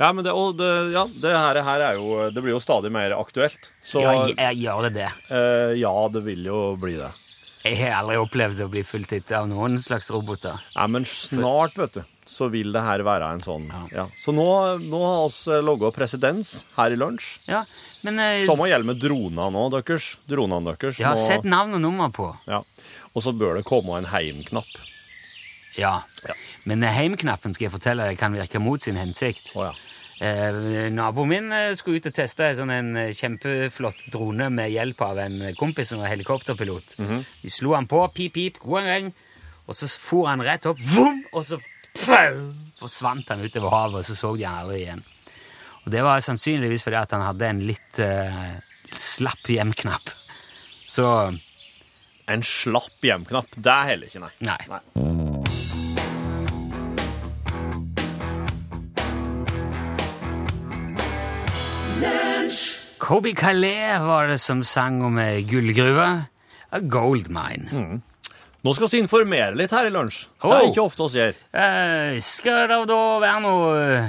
[SPEAKER 3] Ja, men det, og det, ja, det her, her er jo Det blir jo stadig mer aktuelt. Så
[SPEAKER 2] ja,
[SPEAKER 3] ja,
[SPEAKER 2] jeg, jeg gjør det det.
[SPEAKER 3] ja det vil jo bli det.
[SPEAKER 2] Jeg har aldri opplevd å bli fulgt etter av noen slags roboter.
[SPEAKER 3] Ja, men snart, vet du, så vil det her være en sånn ja.
[SPEAKER 2] Ja.
[SPEAKER 3] Så nå, nå har oss logga presedens her i lunsj.
[SPEAKER 2] Ja, men eh,
[SPEAKER 3] Samme gjelder med droner nå, deres. Dronene deres.
[SPEAKER 2] jeg har
[SPEAKER 3] må-
[SPEAKER 2] sett navn og nummer på.
[SPEAKER 3] ja. Og så bør det komme en heimknapp.
[SPEAKER 2] Ja.
[SPEAKER 3] Ja.
[SPEAKER 2] Men eh, heimknappen skal jeg fortelle deg kan virke mot sin hensikt.
[SPEAKER 3] Å ja.
[SPEAKER 2] Eh, naboen min eh, skulle ut og teste en sånn en eh, kjempeflott drone med hjelp av en eh, kompis som var helikopterpilot. De slo han på, pip, pip, god gang, og så for han rett opp, vroom, og så forsvant han utover havet, og så så de han aldri igjen. Og Det var sannsynligvis fordi at han hadde en litt eh, slapp hjem-knapp. Så
[SPEAKER 3] En slapp hjemknapp. Det er heller ikke, nei.
[SPEAKER 2] Nei. Kobe Calais var det som sang om ei gullgruve. A gold mine.
[SPEAKER 3] Mm. Nå skal vi informere litt her i lunsj. Det
[SPEAKER 2] Oh.
[SPEAKER 3] er ikke ofte vi gjør.
[SPEAKER 2] Eh, skal det da være noe eh,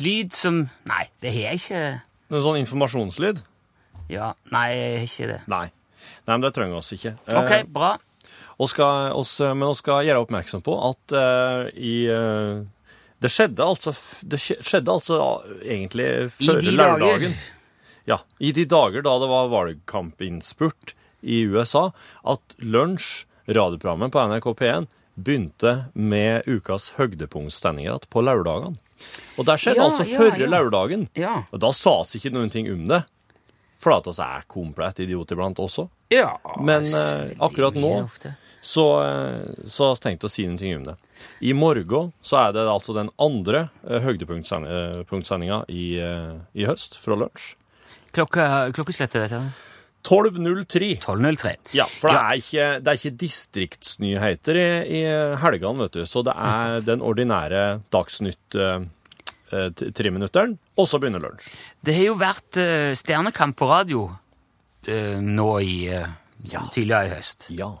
[SPEAKER 2] lyd som Nei, det har jeg ikke.
[SPEAKER 3] Noen sånn informasjonslyd?
[SPEAKER 2] Ja, nei, jeg har ikke det.
[SPEAKER 3] Nei. Nei, men det trenger vi ikke.
[SPEAKER 2] Ok,
[SPEAKER 3] Eh,
[SPEAKER 2] bra.
[SPEAKER 3] og skal, oss, men vi skal gjøre oppmerksom på at eh, i eh, Det skjedde altså f- Det skje- skjedde altså egentlig
[SPEAKER 2] I
[SPEAKER 3] før
[SPEAKER 2] de dager.
[SPEAKER 3] lørdagen. Ja, I de dager da det var valgkampinnspurt i USA, at Lunsj, radioprogrammet på NRK P1, begynte med ukas høydepunktstendinger igjen på lørdagene. Og det skjedde
[SPEAKER 2] Ja,
[SPEAKER 3] altså
[SPEAKER 2] ja,
[SPEAKER 3] førre
[SPEAKER 2] ja.
[SPEAKER 3] lørdagen.
[SPEAKER 2] Ja.
[SPEAKER 3] Og da sas ikke noen ting om det. For at oss er komplett idioter iblant også.
[SPEAKER 2] Ja,
[SPEAKER 3] Men,
[SPEAKER 2] s-
[SPEAKER 3] eh,
[SPEAKER 2] det
[SPEAKER 3] akkurat
[SPEAKER 2] blir
[SPEAKER 3] nå-
[SPEAKER 2] ofte.
[SPEAKER 3] Så, eh, så har jeg tenkt å si noe om det. I morgen så er det altså den andre eh, høydepunktsendinga i, eh, i høst, fra lunsj.
[SPEAKER 2] Klokka, klokkeslettet er dette?
[SPEAKER 3] 12.03.
[SPEAKER 2] 12.03.
[SPEAKER 3] Ja, for det
[SPEAKER 2] Ja.
[SPEAKER 3] er ikke, det er ikke distriktsnyheter i, i helgene, vet du. Så det er den ordinære Dagsnytt eh, eh, t- treminutteren, og så begynner lunsj.
[SPEAKER 2] Det har jo vært eh, Stjernekamp på radio eh, nå i eh, tidligere i høst.
[SPEAKER 3] Ja.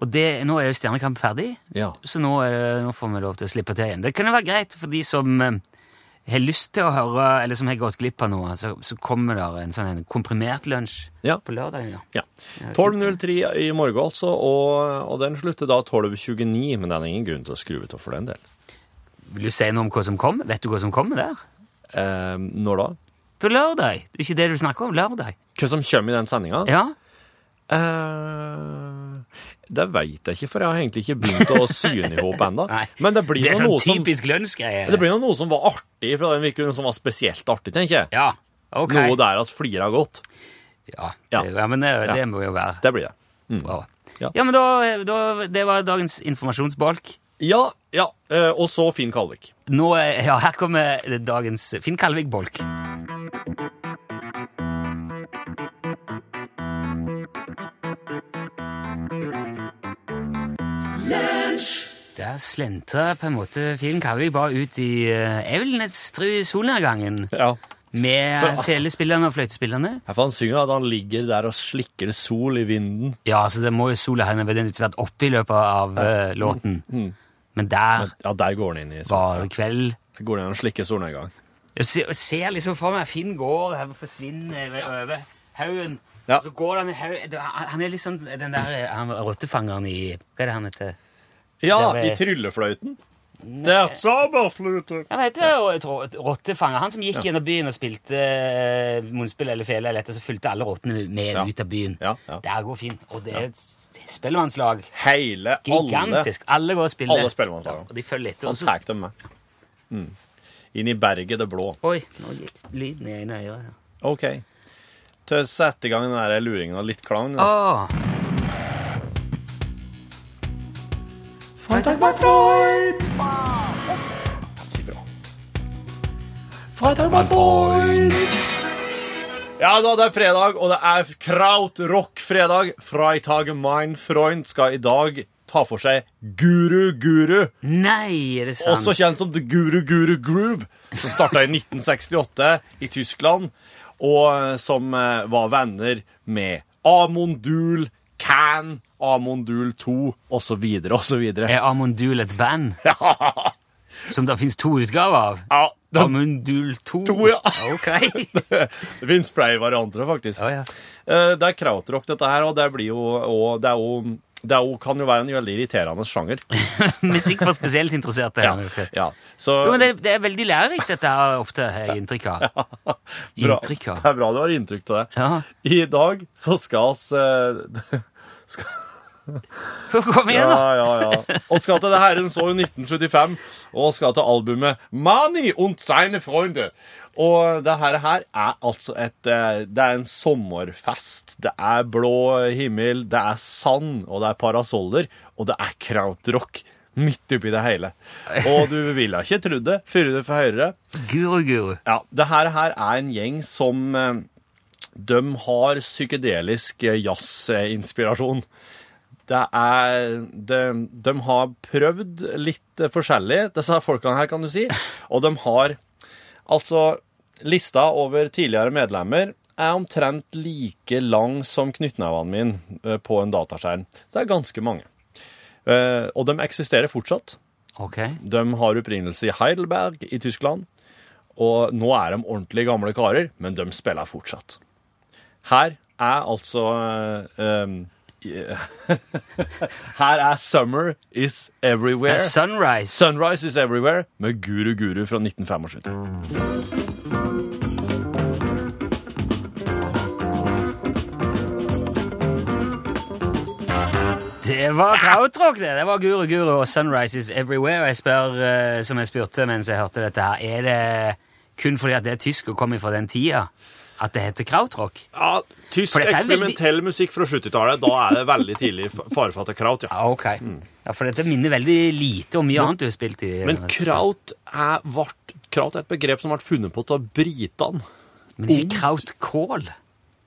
[SPEAKER 2] Og det, nå er jo Stjernekamp ferdig,
[SPEAKER 3] Ja.
[SPEAKER 2] så nå, er det, nå får vi lov til å slippe til igjen. Det kunne være greit for de som eh, har lyst til å høre, eller som har gått glipp av noe, så, så kommer der en sånn en komprimert lunsj
[SPEAKER 3] Ja.
[SPEAKER 2] på lørdagen. Ja.
[SPEAKER 3] Ja. 12.03 i morgen, altså, og, og den slutter da 12.29, men det er ingen grunn til å skru ut for den del.
[SPEAKER 2] Vil du si noe om hva som kommer? Vet du hva som kommer der?
[SPEAKER 3] Eh, når da?
[SPEAKER 2] På lørdag! Det er ikke det du snakker om. Lørdag.
[SPEAKER 3] Hva som kommer i den sendinga?
[SPEAKER 2] Ja.
[SPEAKER 3] Eh, det veit jeg ikke, for jeg har egentlig ikke begynt å syne i håp ennå.
[SPEAKER 2] Nei.
[SPEAKER 3] Men det blir
[SPEAKER 2] Det er
[SPEAKER 3] nå
[SPEAKER 2] sånn
[SPEAKER 3] noe som
[SPEAKER 2] typisk lunsjgreie.
[SPEAKER 3] det blir nå noe som var artig fra den uken, som var spesielt artig, tenker jeg.
[SPEAKER 2] Ja, ok.
[SPEAKER 3] Noe der oss flirer godt.
[SPEAKER 2] Ja,
[SPEAKER 3] Ja.
[SPEAKER 2] det, ja men det,
[SPEAKER 3] Ja.
[SPEAKER 2] det må jo være
[SPEAKER 3] Det blir det.
[SPEAKER 2] bra. Ja,
[SPEAKER 3] Ja.
[SPEAKER 2] men da, da Det var dagens informasjonsbolk.
[SPEAKER 3] Ja, ja. eh, og så Finn Kalvik.
[SPEAKER 2] Nå, er- ja, her kommer dagens Finn Kalvik-bolk. Der slentra på en måte Finn Kalvik bare ut i eh, jeg vil nesten tro solnedgangen
[SPEAKER 3] Ja.
[SPEAKER 2] med
[SPEAKER 3] For-
[SPEAKER 2] felespillerne og fløytespillerne.
[SPEAKER 3] For han synger at han ligger der og slikker sol i vinden.
[SPEAKER 2] Ja, altså det må jo sola henne ved den vært oppe i løpet av eh, låten.
[SPEAKER 3] Mm.
[SPEAKER 2] Men der
[SPEAKER 3] Ja, der går han inn i
[SPEAKER 2] var det kveld.
[SPEAKER 3] Der går han inn og slikker solnedgang.
[SPEAKER 2] Jeg ser, jeg ser liksom for meg Finn går og forsvinner ved- over haugen.
[SPEAKER 3] Ja.
[SPEAKER 2] Så går han i haugen det- Han han er liksom den der eh, han, rottefangeren i Hva er det han heter?
[SPEAKER 3] Ja,
[SPEAKER 2] Der var-
[SPEAKER 3] i tryllefløyten. Det er et sabelfløyte.
[SPEAKER 2] Han heter rottefanger. Han som gikk gjennom byen og spilte eh, munnspill eller fele, eller et, og så fulgte alle rottene med
[SPEAKER 3] Ja.
[SPEAKER 2] ut av byen.
[SPEAKER 3] Ja, ja.
[SPEAKER 2] Der går Finn. Og det er et s- spellemannslag.
[SPEAKER 3] Hele, alle
[SPEAKER 2] Gigantisk. Alle går og spiller.
[SPEAKER 3] Alle spellemannslag.
[SPEAKER 2] Ja, og de følger etter.
[SPEAKER 3] Han
[SPEAKER 2] og så-
[SPEAKER 3] tar dem med. Mm. Inn i berget det blå.
[SPEAKER 2] Oi, nå gikk lyden i ene øret. her.
[SPEAKER 3] OK. Til å sette i gang den der luringen og litt klang. da.
[SPEAKER 2] Åh,
[SPEAKER 3] Freitag bei Freund. Freitag bei Freund. Ja da, det er fredag, og det er krautrock-fredag. Freitag mein Freund skal i dag ta for seg Guru Guru.
[SPEAKER 2] nei, er det sant?
[SPEAKER 3] Også kjent som The Guru Guru Groove, som starta i 1968 i Tyskland, og eh, som eh, var venner med Amundul, Can, Amundul 2 osv. osv.
[SPEAKER 2] Er Amundul et band
[SPEAKER 3] Ja,
[SPEAKER 2] som det finnes to utgaver av?
[SPEAKER 3] ja de,
[SPEAKER 2] Amundul 2?
[SPEAKER 3] To, ja.
[SPEAKER 2] Ok.
[SPEAKER 3] det finnes flere varianter, faktisk.
[SPEAKER 2] Ja, ja.
[SPEAKER 3] Eh, Det er krautrock, dette her, og det blir jo og det, er jo, det er jo, kan jo være en veldig irriterende sjanger.
[SPEAKER 2] Musikk for spesielt interesserte.
[SPEAKER 3] Ja,
[SPEAKER 2] ok.
[SPEAKER 3] ja. Så
[SPEAKER 2] Jo, men det, det er veldig lærerikt, dette her ofte, har jeg inntrykk av.
[SPEAKER 3] Bra.
[SPEAKER 2] Inntrykk av.
[SPEAKER 3] Det er bra du har inntrykk av det.
[SPEAKER 2] Ja.
[SPEAKER 3] I dag så skal oss eh,
[SPEAKER 2] Kom igjen, da.
[SPEAKER 3] Ja, ja, ja. Og skal til det herrens år 1975, og skal til albumet Mani und seine Freunde. Og det her, her er altså et eh, Det er en sommerfest. Det er blå himmel, det er sand, og det er parasoller, og det er krautrock. Midt oppi det hele. Og du ville ikke trodd det, før du får høre det.
[SPEAKER 2] Guru-guru.
[SPEAKER 3] Ja, det her, her er en gjeng som eh, De har psykedelisk eh, jazzinspirasjon. Det er de, de har prøvd litt eh, forskjellig, disse her folkene her, kan du si. Og de har Altså, lista over tidligere medlemmer er omtrent like lang som knyttneven min eh, på en dataskjerm. Så det er ganske mange. Eh, Og de eksisterer fortsatt.
[SPEAKER 2] Ok.
[SPEAKER 3] De har opprinnelse i Heidelberg i Tyskland, og nå er de ordentlig gamle karer, men de spiller fortsatt. Her er altså eh, um, Her er 'Summer Is
[SPEAKER 2] Det
[SPEAKER 3] Everywhere'.
[SPEAKER 2] er sunrise.
[SPEAKER 3] 'Sunrise Is Everywhere' med Guru Guru fra 1975.
[SPEAKER 2] Det var krautrock, det. Det var Guru Guru og Sunrise is Everywhere. Og jeg spør, eh, som jeg spurte mens jeg hørte dette her, er det kun fordi at det er tysk og kommer fra den tida, at det heter krautrock?
[SPEAKER 1] Ja, tysk
[SPEAKER 2] For dette er
[SPEAKER 1] eksperimentell musikk fra 70-tallet. Da er det veldig tidlig f- farefatte kraut, ja.
[SPEAKER 2] Ja, ok. Ja, For dette minner veldig lite om mye annet du har spilt i.
[SPEAKER 3] Men kraut er, vart, kraut er et begrep som ble funnet på av britene.
[SPEAKER 2] Men ikke krautkål?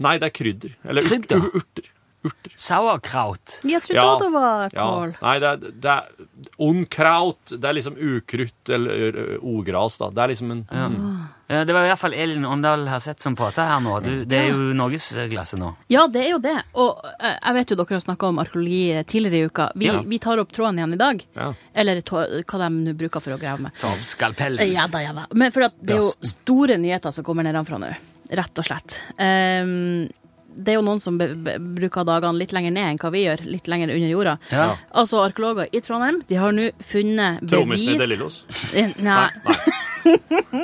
[SPEAKER 3] Nei, det er krydder. Eller urt-
[SPEAKER 2] Krydder?
[SPEAKER 3] ur- urter. urter.
[SPEAKER 2] Sauerkraut?
[SPEAKER 5] Jeg trodde
[SPEAKER 3] Ja.
[SPEAKER 5] også det var
[SPEAKER 1] ja.
[SPEAKER 5] kål.
[SPEAKER 1] Nei, det er, det er
[SPEAKER 3] Unkraut, det er liksom ukrutt eller ø, ogras, da. Det er liksom en
[SPEAKER 2] Ja. Ja, Det var i hvert fall Elin Åndal har sett som prata her nå. Du, det er jo norgesglasset nå.
[SPEAKER 5] Ja, det er jo det. Og eh, jeg vet jo dere har snakka om arkeologi tidligere i uka. Vi,
[SPEAKER 2] Ja.
[SPEAKER 5] vi tar opp tråden igjen i dag.
[SPEAKER 3] Ja.
[SPEAKER 5] Eller tå- hva de nå bruker for å grave med.
[SPEAKER 2] Ta opp skalpellen.
[SPEAKER 5] Ja da, ja da. Men for at det er jo
[SPEAKER 2] Bjørsten.
[SPEAKER 5] store nyheter som kommer nedenfra nå. Rett og slett. Ehm, det er jo noen som be be bruker dagene litt lenger ned enn hva vi gjør. Litt lenger under jorda.
[SPEAKER 2] Ja.
[SPEAKER 5] Altså, arkeologer i Trondheim de har nå funnet bevis
[SPEAKER 1] trommisen i Delillos.
[SPEAKER 5] Nei.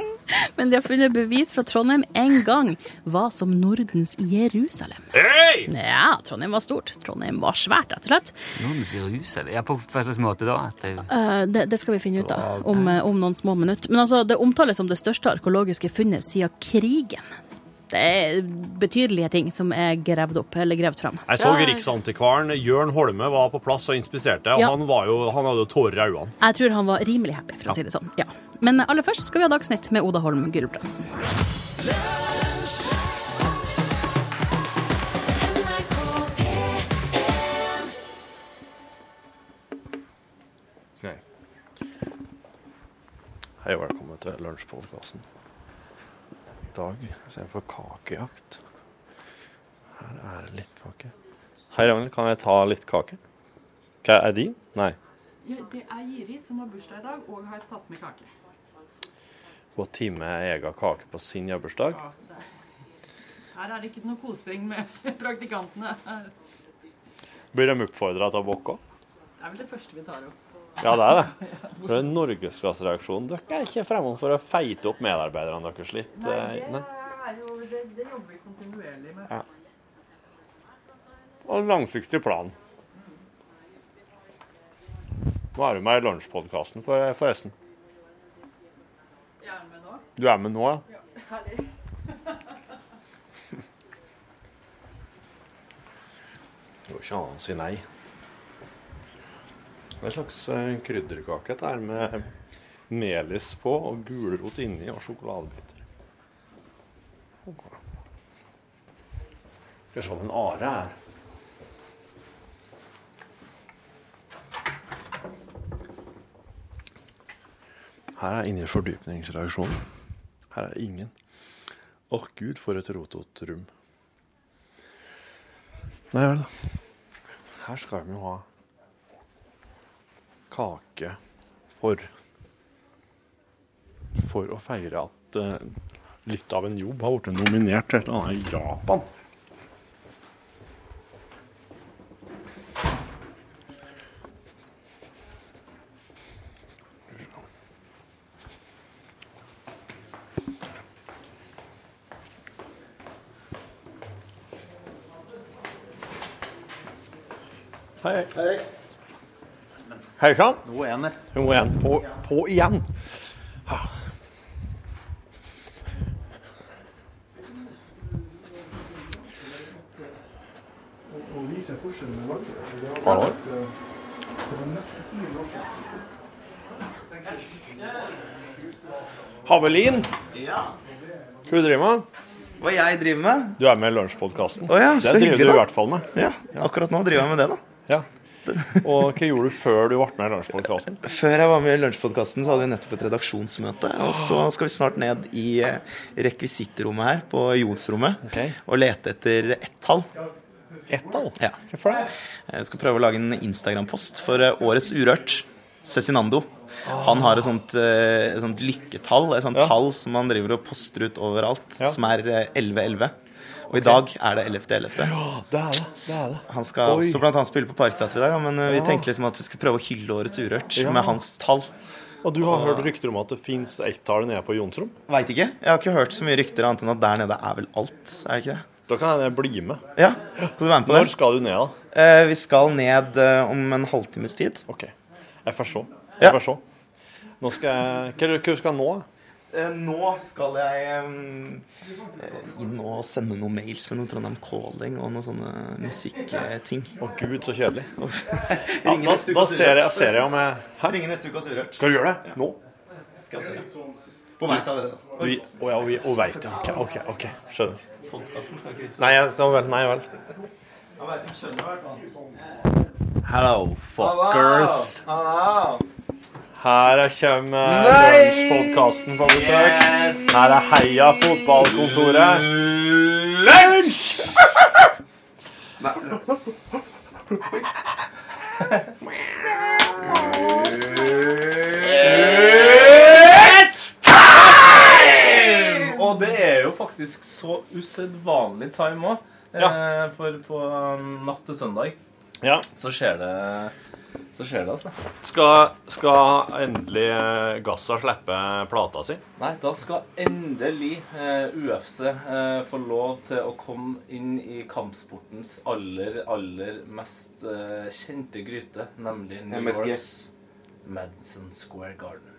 [SPEAKER 5] Men de har funnet bevis fra Trondheim en gang var som Nordens Jerusalem.
[SPEAKER 1] Hei!
[SPEAKER 5] Ja, Trondheim var stort. Trondheim var svært, rett og slett.
[SPEAKER 2] Noen sier ruset. Ja, på hva slags måte da? At det,
[SPEAKER 5] Eh, det, det skal vi finne ut av om, eh, om noen små minutter. Men altså, det omtales som det største arkeologiske funnet siden krigen. Det er betydelige ting som er gravd opp, eller gravd fram.
[SPEAKER 3] Jeg så Riksantikvaren Jørn Holme var på plass og inspiserte, og
[SPEAKER 5] Ja.
[SPEAKER 3] han, var jo, han hadde jo tårer i øynene.
[SPEAKER 5] Jeg tror han var rimelig happy, for å si det sånn. Ja. Men aller først skal vi ha Dagsnytt med Oda Holm Gulbrandsen.
[SPEAKER 3] Hei og velkommen til lunsjpodkasten. I dag så er jeg på kakejakt. Her er det litt kake. Hei, Ragnhild, kan jeg ta litt kake? Hva er din? Nei.
[SPEAKER 6] Ja, Det er Jiri som har bursdag i dag og har tatt med kake.
[SPEAKER 3] Hvor time er egen kake på sin bursdag?
[SPEAKER 6] Her er det ikke noe kosing med praktikantene. Det
[SPEAKER 3] Blir de oppfordra til å bokke?
[SPEAKER 6] er vel det første vi tar opp.
[SPEAKER 3] Ja, det er det. For en norgesklassereaksjon. Dere er ikke fremme for å feite opp medarbeiderne deres litt? eh, nei.
[SPEAKER 6] er jo, det, jobber vi kontinuerlig med.
[SPEAKER 3] og langsiktig plan. Nå er du med i lunsjpodkasten, for, forresten.
[SPEAKER 6] Jeg er med nå.
[SPEAKER 3] Du er med nå, ja? Det går ikke an å si nei. Hva slags eh, krydderkake dette er med melis på og gulrot inni og sjokoladebiter? Ok. Skal vi se om en are er Her er inni fordypningsreaksjonen. Her er ingen. Åh, gud, for et rotot rom. Nei vel, da. Her skal vi jo ha kake for For å feire at eh, litt av en jobb har blitt nominert til et eller annet i Japan. Hei. Hei. Hei sann.
[SPEAKER 7] Nå er han der.
[SPEAKER 3] Hun må igjen. På, på igjen. Ja. Hallo.
[SPEAKER 8] Havelin, hva du driver med?
[SPEAKER 7] Hva jeg driver med?
[SPEAKER 8] Du er med i Lunsjpodkasten.
[SPEAKER 7] Å ja, så
[SPEAKER 8] det driver
[SPEAKER 7] hyggelig,
[SPEAKER 8] du i
[SPEAKER 7] da.
[SPEAKER 8] hvert fall med.
[SPEAKER 7] Ja, akkurat nå driver jeg med det, da.
[SPEAKER 8] Ja. Og hva gjorde du før du ble med i Lunsjpodkasten?
[SPEAKER 7] Før jeg var med i Lunsjpodkasten, så hadde vi nettopp et redaksjonsmøte. Og så skal vi snart ned i eh, rekvisittrommet her, på Jonsrommet,
[SPEAKER 8] Ok.
[SPEAKER 7] og lete etter ett tall.
[SPEAKER 8] Ettall?
[SPEAKER 7] Ja.
[SPEAKER 8] Hvorfor det?
[SPEAKER 7] Jeg skal prøve å lage en Instagram-post for eh, årets Urørt, Cezinando. Han har et sånt, eh, et sånt lykketall, et sånt
[SPEAKER 8] Ja.
[SPEAKER 7] tall som han driver og poster ut overalt,
[SPEAKER 8] Ja.
[SPEAKER 7] som er eh, 11-11. Og i dag er det 11.11.
[SPEAKER 8] Det er det. det er det.
[SPEAKER 7] Han skal
[SPEAKER 8] Oi.
[SPEAKER 7] også blant annet spille på Parkteatret i dag, da, men eh, vi tenkte liksom at vi skulle prøve å hylle årets Urørt med hans tall.
[SPEAKER 8] Og du har hørt rykter om at det fins ettall nede på Jonsrom?
[SPEAKER 7] Veit ikke. Jeg har ikke hørt så mye rykter annet enn at der nede er vel alt, er det ikke det?
[SPEAKER 8] Da kan jeg bli med.
[SPEAKER 7] Ja, skal du være med på
[SPEAKER 8] Når
[SPEAKER 7] det?
[SPEAKER 8] skal du ned, da?
[SPEAKER 7] Eh, vi skal ned eh, om en halvtimes tid.
[SPEAKER 8] OK. Jeg får se.
[SPEAKER 7] Ja.
[SPEAKER 8] Jeg får se. Nå skal jeg Hva er det- hva skal jeg nå? da?
[SPEAKER 7] Eh, nå skal jeg eh, inn og sende noen mails med noe Trondheim Calling og noen sånne musikkting.
[SPEAKER 8] Å gud, så kjedelig. Ja,
[SPEAKER 7] Ringe
[SPEAKER 8] da da ser, jeg, ser jeg om jeg Hæ?
[SPEAKER 7] Ringe neste uke hos Urørt.
[SPEAKER 8] Skal du gjøre det? Nå?
[SPEAKER 7] Skal jeg også gjøre. På vei til allerede.
[SPEAKER 8] Vi, å ja, vi, å, vet jeg. OK, OK, ok, skjønner.
[SPEAKER 7] Podkasten skal ikke ut.
[SPEAKER 8] Nei, jeg, så vel, nei vel.
[SPEAKER 7] Jeg vet, jeg skjønner i hvert fall.
[SPEAKER 8] Hello, fuckers. Her er kommer lunsjpodkasten på besøk. Her er Heia fotballkontoret. Lunsj!
[SPEAKER 9] Og det er jo faktisk så usedvanlig time òg. Eh, for på um, natt til søndag
[SPEAKER 8] Ja,
[SPEAKER 9] så skjer det Så skjer det, altså.
[SPEAKER 8] skal, skal endelig eh, Gassa slippe plata si?
[SPEAKER 9] Nei, da skal endelig eh, UFC eh, få lov til å komme inn i kampsportens aller, aller mest eh, kjente gryte, nemlig New
[SPEAKER 10] MSG.
[SPEAKER 9] Yorks Madison Square Garden.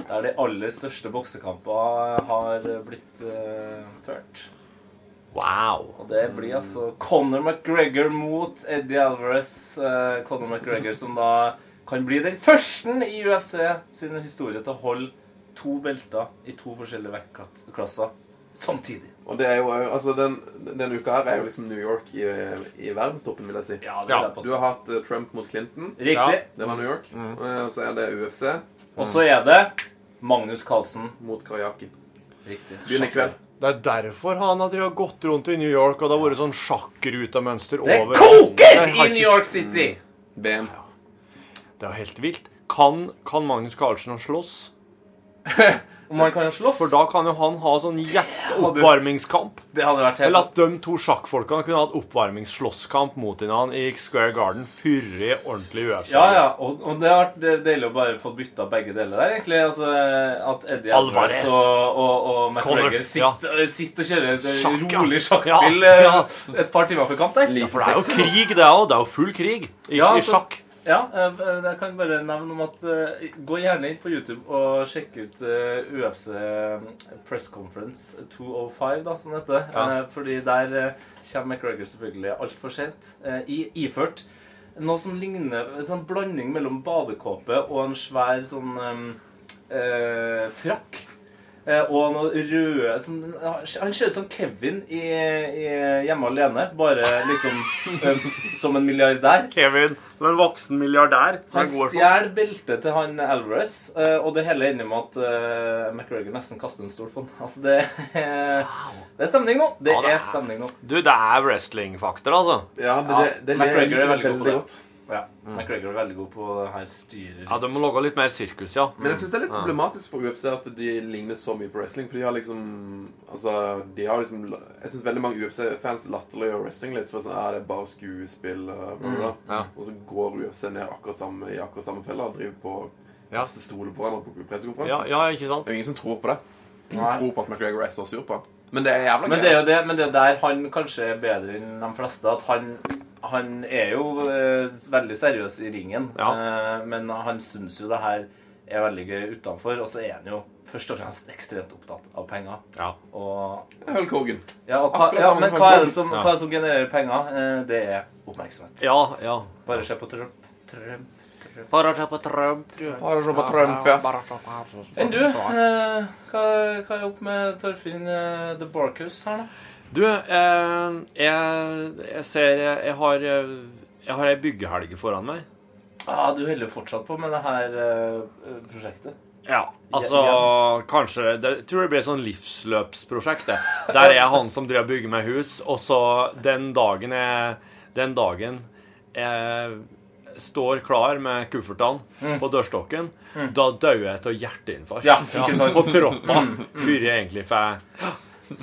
[SPEAKER 9] Der de aller største boksekamper har blitt eh, ført.
[SPEAKER 8] Wow.
[SPEAKER 9] Og det blir altså Conor McGregor mot Eddie Alvarez. Eh, Conor McGregor som da kan bli den første i UFC sin historie til å holde to belter i to forskjellige vektklasser samtidig.
[SPEAKER 10] Og det er jo, altså den, den uka her er jo liksom New York i, i verdenstoppen, vil jeg si.
[SPEAKER 9] Ja, det
[SPEAKER 8] Ja,
[SPEAKER 9] vil jeg
[SPEAKER 10] Du
[SPEAKER 9] passe.
[SPEAKER 10] har hatt eh, Trump mot Clinton.
[SPEAKER 9] Riktig.
[SPEAKER 10] Det var New York. Eh, Og så er det UFC
[SPEAKER 9] Og så er det Magnus Carlsen.
[SPEAKER 10] mot Karjaki.
[SPEAKER 9] Riktig.
[SPEAKER 10] Begynner i kveld.
[SPEAKER 8] Det er derfor han har drevet og gått rundt i New York, og det har vært sånn sjakkrutemønster
[SPEAKER 9] Det
[SPEAKER 8] over
[SPEAKER 9] koker
[SPEAKER 8] Jeg
[SPEAKER 9] i
[SPEAKER 8] har ikke-
[SPEAKER 9] New York City!
[SPEAKER 10] BM.
[SPEAKER 8] Det er jo helt vilt. Kan, kan Magnus Carlsen slåss?
[SPEAKER 9] Og man kan jo slåss.
[SPEAKER 8] For da kan jo han ha sånn gjesteoppvarmingskamp.
[SPEAKER 9] det hadde vært
[SPEAKER 8] Eller
[SPEAKER 9] helt
[SPEAKER 8] at de to sjakkfolkene kunne hatt oppvarmingsslåsskamp mot hverandre i Square Garden før i ordentlig UFC.
[SPEAKER 9] Ja, ja. Og, og det har vært det er deilig å bare få bytta begge deler der, egentlig. Altså, at Eddie Alvarez
[SPEAKER 8] Alvarez.
[SPEAKER 9] og, og, og
[SPEAKER 8] Conor,
[SPEAKER 9] McGregor sitter, sitter og kjører et
[SPEAKER 8] Sjakk, ja.
[SPEAKER 9] rolig sjakkspill
[SPEAKER 8] Ja, ja.
[SPEAKER 9] eh, et par timer før kamp der.
[SPEAKER 10] Lite
[SPEAKER 8] For det er jo krig, det òg. Det er jo full krig i, i
[SPEAKER 9] Ja, altså-
[SPEAKER 8] sjakk.
[SPEAKER 9] Ja, eh, jeg kan bare nevne om at eh, Gå gjerne inn på YouTube og sjekk ut eh, UFC eh, Press Conference 205, da, som det heter.
[SPEAKER 8] Ja.
[SPEAKER 9] Eh, Fordi der eh, kommer McGregor selvfølgelig altfor sent eh, i, iført noe som ligner en sånn blanding mellom badekåpe og en svær sånn eh, eh, frakk. Eh, og noe røde sånn, Han ser ut som Kevin i, i Hjemme alene, bare liksom eh, som en milliardær.
[SPEAKER 8] Kevin som en voksen milliardær.
[SPEAKER 9] Han stjeler beltet til han Alvarez, eh, og det hele ender med at eh, McGregor nesten kaster en stol på han. Altså, det, er- det er stemning nå. Det
[SPEAKER 8] Ja, det er-
[SPEAKER 9] er stemning nå.
[SPEAKER 8] Du, det er wrestlingfaktor, altså.
[SPEAKER 10] Ja, det, det, det, det
[SPEAKER 9] McGregor
[SPEAKER 10] liker
[SPEAKER 9] er
[SPEAKER 10] jeg
[SPEAKER 9] veldig god på
[SPEAKER 10] veldig
[SPEAKER 9] det.
[SPEAKER 10] godt.
[SPEAKER 9] Ja,
[SPEAKER 8] Mm.
[SPEAKER 9] McGregor er veldig god på det her styrer.
[SPEAKER 8] Ja, De må lage litt mer sirkus, ja.
[SPEAKER 10] Men jeg syns det er litt problematisk for UFC at de ligner så mye på wrestling. For de har liksom Altså, de har liksom Jeg syns veldig mange UFC-fans latterliggjør wrestling litt. For sånn, ja, det er bare skuespill og bla, bla, bla.
[SPEAKER 8] ja.
[SPEAKER 10] Og så går UFC ned akkurat samme, i akkurat samme fella og driver på
[SPEAKER 8] Ja.
[SPEAKER 10] kaster stoler på hverandre på pressekonferansen.
[SPEAKER 8] ja. Ja, ikke sant?
[SPEAKER 10] Det er jo ingen som tror på det. Ingen som tror på at McGregor er så sur på han. Men det er jævla
[SPEAKER 9] Men det er jo det, men det er der han kanskje er bedre enn de fleste. At han, han er jo eh, veldig seriøs i ringen, eh, men han syns jo det her er veldig gøy utenfor. Og så er han jo først og fremst ekstremt opptatt av penger.
[SPEAKER 8] Ja.
[SPEAKER 9] Og,
[SPEAKER 10] Hulk Hogan.
[SPEAKER 9] ja, og hva,
[SPEAKER 10] Akkurat
[SPEAKER 9] ja,
[SPEAKER 10] samme
[SPEAKER 9] men
[SPEAKER 10] som
[SPEAKER 9] hva er
[SPEAKER 10] Hulk
[SPEAKER 9] det som,
[SPEAKER 8] Hogan.
[SPEAKER 9] hva er det som genererer penger? Eh, det er oppmerksomhet.
[SPEAKER 8] Ja, ja.
[SPEAKER 9] Bare se på Trump.
[SPEAKER 11] Bare se på Trump, du.
[SPEAKER 3] Bare se på Trump, ja.
[SPEAKER 11] Bare se på Trump.
[SPEAKER 9] Enn du, eh, hva, hva er opp med Torfinn eh, The Barkus her, da?
[SPEAKER 8] Du, eh, jeg, jeg ser Jeg har eh, Jeg har ei byggehelg foran meg.
[SPEAKER 9] Ah, du holder fortsatt på med det her eh, prosjektet.
[SPEAKER 8] Ja, altså
[SPEAKER 9] Ja,
[SPEAKER 8] Kanskje det, Jeg tror det blir sånn livsløpsprosjekt, det. Der er jeg han som driver og bygger meg hus, og så den dagen jeg Den dagen jeg står klar med kuffertene på dørstokken, da dør jeg av hjerteinfarkt.
[SPEAKER 9] Mm. Ja, ikke sant? Mm.
[SPEAKER 8] På troppa. Før jeg egentlig får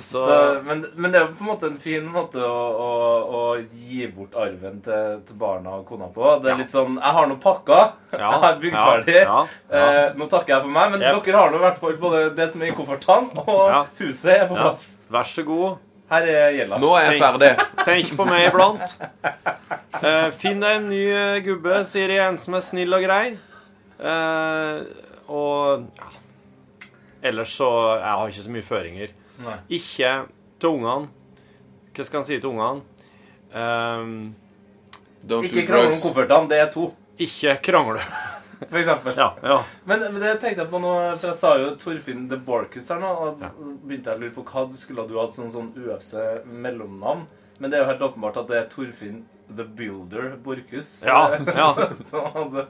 [SPEAKER 8] så,
[SPEAKER 9] Så, Eh, men, men det er jo på en måte en fin måte å, å, å gi bort arven til, til barna og kona på. Det er litt sånn Jeg har nå pakka. jeg har bygd
[SPEAKER 8] ja,
[SPEAKER 9] ferdig.
[SPEAKER 8] ja, ja.
[SPEAKER 9] Eh, nå takker jeg for meg, men
[SPEAKER 8] Yep.
[SPEAKER 9] dere har nå i hvert fall både det som er i koffertene, og
[SPEAKER 8] Ja.
[SPEAKER 9] huset er på
[SPEAKER 8] ja,
[SPEAKER 9] plass.
[SPEAKER 8] vær så god.
[SPEAKER 9] Her er gjelda.
[SPEAKER 3] Nå er jeg ferdig.
[SPEAKER 8] Tenk på meg iblant. Eh, finn deg en ny eh, gubbe, sier jeg, en som er snill og grei. Eh, og ja. Ellers så Jeg har ikke så mye føringer.
[SPEAKER 9] Nei.
[SPEAKER 8] Ikke til ungene. Hva skal en si til ungene? Ehm,
[SPEAKER 3] Don't
[SPEAKER 9] Ikke
[SPEAKER 3] do
[SPEAKER 9] krangle om
[SPEAKER 3] drugs.
[SPEAKER 9] koffertene. Det er to,
[SPEAKER 8] ikke krangle.
[SPEAKER 9] for eksempel.
[SPEAKER 8] Ja, ja.
[SPEAKER 9] Men, men det tenkte jeg på nå, for jeg sa jo Torfinn The Borkus her nå, og begynte jeg å lure på hva du skulle du hatt sånn, sånn UFC-mellomnavn. Men det er jo helt åpenbart at det er Torfinn The Builder Borkus.
[SPEAKER 8] Ja, ja.
[SPEAKER 9] Som hadde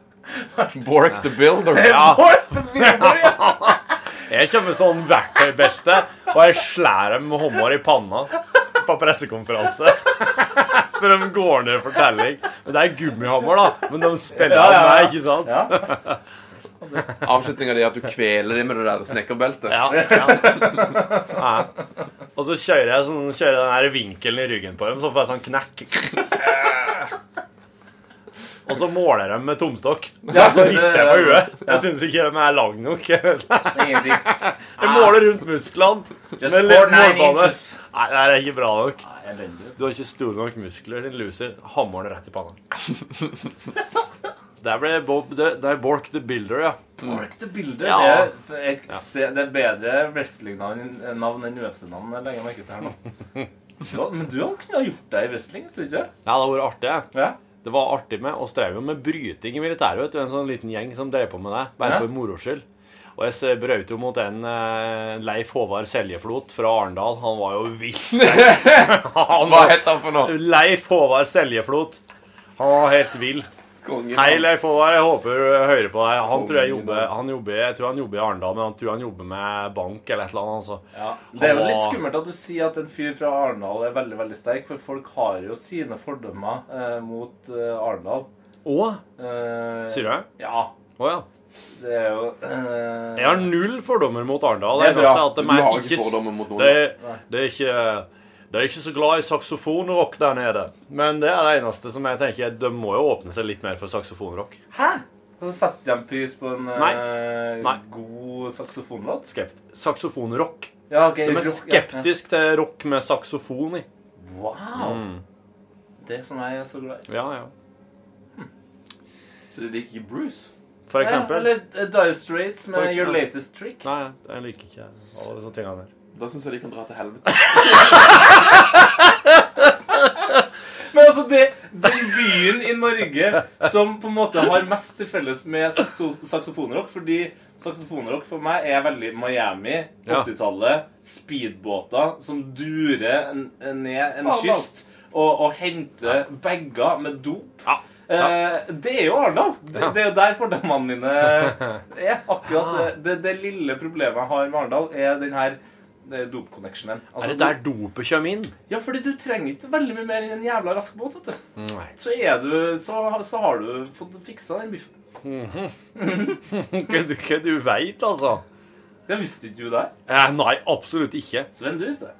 [SPEAKER 3] Bork the Builder.
[SPEAKER 8] ja.
[SPEAKER 9] Bork the Builder, ja!
[SPEAKER 8] Jeg kommer med sånn verktøybelte, og jeg slår dem med hånda i panna på pressekonferanse. Så de går ned for telling. Men det er gummihammer, da. Men de spiller
[SPEAKER 9] Ja,
[SPEAKER 8] av
[SPEAKER 9] ja, ja.
[SPEAKER 8] meg, ikke sant?
[SPEAKER 9] ja.
[SPEAKER 3] Avslutninga di er at du kveler dem med det der snekkerbeltet.
[SPEAKER 8] Ja, ja. Ja. Og så kjører jeg, sånn, kjører jeg den her vinkelen i ryggen på dem, så får jeg sånn knekk. Og så måler jeg dem med tomstokk.
[SPEAKER 9] Ja,
[SPEAKER 8] Så rister jeg på huet. Jeg syns ikke de er lang nok. Jeg
[SPEAKER 9] Ingenting.
[SPEAKER 8] måler rundt musklene. Med
[SPEAKER 9] Just four nine
[SPEAKER 8] målbane.
[SPEAKER 9] inches.
[SPEAKER 8] Nei, det er ikke bra nok.
[SPEAKER 9] Nei, elendig.
[SPEAKER 8] Du har ikke store nok muskler, din loser. Hammeren rett i panna. Der ble Bob Det, det er Bork the Builder, ja.
[SPEAKER 9] Bork the Builder,
[SPEAKER 8] Ja.
[SPEAKER 9] det, er ekstre, det er bedre wrestling-navn navn enn UFC-navn. Jeg legger merke til her nå. Ja, men du kunne ha gjort deg i wrestling, tror du ikke?
[SPEAKER 8] Nei, det har vært artig. jeg.
[SPEAKER 9] Ja.
[SPEAKER 8] Det var artig med og strev jo med bryting i militæret. vet du, En sånn liten gjeng som drev på med det, bare
[SPEAKER 9] Ja.
[SPEAKER 8] for moro skyld. Og jeg s- brøt jo mot en eh, Leif Håvard Seljeflot fra Arendal. Han var jo vilt sterk. Han
[SPEAKER 3] Hva
[SPEAKER 8] var-
[SPEAKER 3] heter han for noe?
[SPEAKER 8] Leif Håvard Seljeflot. Han var helt vill.
[SPEAKER 3] Kongen.
[SPEAKER 8] Hei, Leif Håvard. Jeg håper du hører på deg. Han tror jeg
[SPEAKER 3] Kongen,
[SPEAKER 8] jobber, han jobber, jeg tror han jobber i Arendal, men han tror han jobber med bank eller et eller annet. altså.
[SPEAKER 9] Ja, Det er jo
[SPEAKER 8] Han
[SPEAKER 9] litt
[SPEAKER 8] var-
[SPEAKER 9] skummelt at du sier at en fyr fra Arendal er veldig veldig sterk, for folk har jo sine fordommer eh, mot eh, Arendal.
[SPEAKER 8] Å,
[SPEAKER 9] Eh,
[SPEAKER 8] sier du det?
[SPEAKER 9] Ja.
[SPEAKER 8] Å ja.
[SPEAKER 9] Det er jo eh,
[SPEAKER 8] Jeg har null fordommer mot Arendal.
[SPEAKER 9] Det er bra.
[SPEAKER 8] eneste at de
[SPEAKER 3] Du
[SPEAKER 8] er
[SPEAKER 3] har ikke
[SPEAKER 8] ikke s-
[SPEAKER 3] fordommer mot noen.
[SPEAKER 8] Det, det er ikke det er ikke så glad i saksofonrock der nede. Men det er det eneste som jeg tenker De må jo åpne seg litt mer for saksofonrock.
[SPEAKER 9] Hæ?! Og så setter de pris på en eh,
[SPEAKER 8] Nei.
[SPEAKER 9] god saksofonlåt?
[SPEAKER 8] Skept. Saksofonrock.
[SPEAKER 9] Ja, ok,
[SPEAKER 8] De er
[SPEAKER 9] rock-
[SPEAKER 8] skeptisk til rock med saksofon i.
[SPEAKER 9] Ja. Wow!
[SPEAKER 8] Mm.
[SPEAKER 9] Det som jeg er så glad i.
[SPEAKER 8] Ja, ja.
[SPEAKER 3] Så de liker Bruce.
[SPEAKER 8] For
[SPEAKER 9] Ja,
[SPEAKER 8] eksempel.
[SPEAKER 9] eller eh, Dire Straits
[SPEAKER 8] For
[SPEAKER 9] med
[SPEAKER 8] eksempel.
[SPEAKER 9] Your Latest Trick.
[SPEAKER 8] Nei, jeg liker ikke alle disse tingene der.
[SPEAKER 3] Da syns jeg de kan dra til helvete.
[SPEAKER 9] Men altså, det, den byen i Norge som på en måte har mest til felles med sakso, saksofonrock Fordi saksofonrock for meg er veldig Miami,
[SPEAKER 8] Ja.
[SPEAKER 9] 80-tallet, speedbåter som durer en- en ned en
[SPEAKER 3] Arendal.
[SPEAKER 9] kyst og, og henter bager med dop.
[SPEAKER 8] Ja.
[SPEAKER 9] Eh, det er jo Arendal. Det, det er jo der fordommene mine er. akkurat
[SPEAKER 8] Ah.
[SPEAKER 9] det, det, det lille problemet jeg har med Arendal, er den her eh, dop-connectionen.
[SPEAKER 8] Er det
[SPEAKER 9] du-
[SPEAKER 8] der dopet kommer inn?
[SPEAKER 9] ja, fordi du trenger ikke veldig mye mer enn en jævla rask båt, vet du.
[SPEAKER 8] Nei.
[SPEAKER 9] Så er du Så, så har du fått fiksa den biffen.
[SPEAKER 8] Hva du, hva du veit, altså?
[SPEAKER 9] Det visste ikke du der.
[SPEAKER 8] Eh, nei, absolutt ikke.
[SPEAKER 9] Sven, du visste det.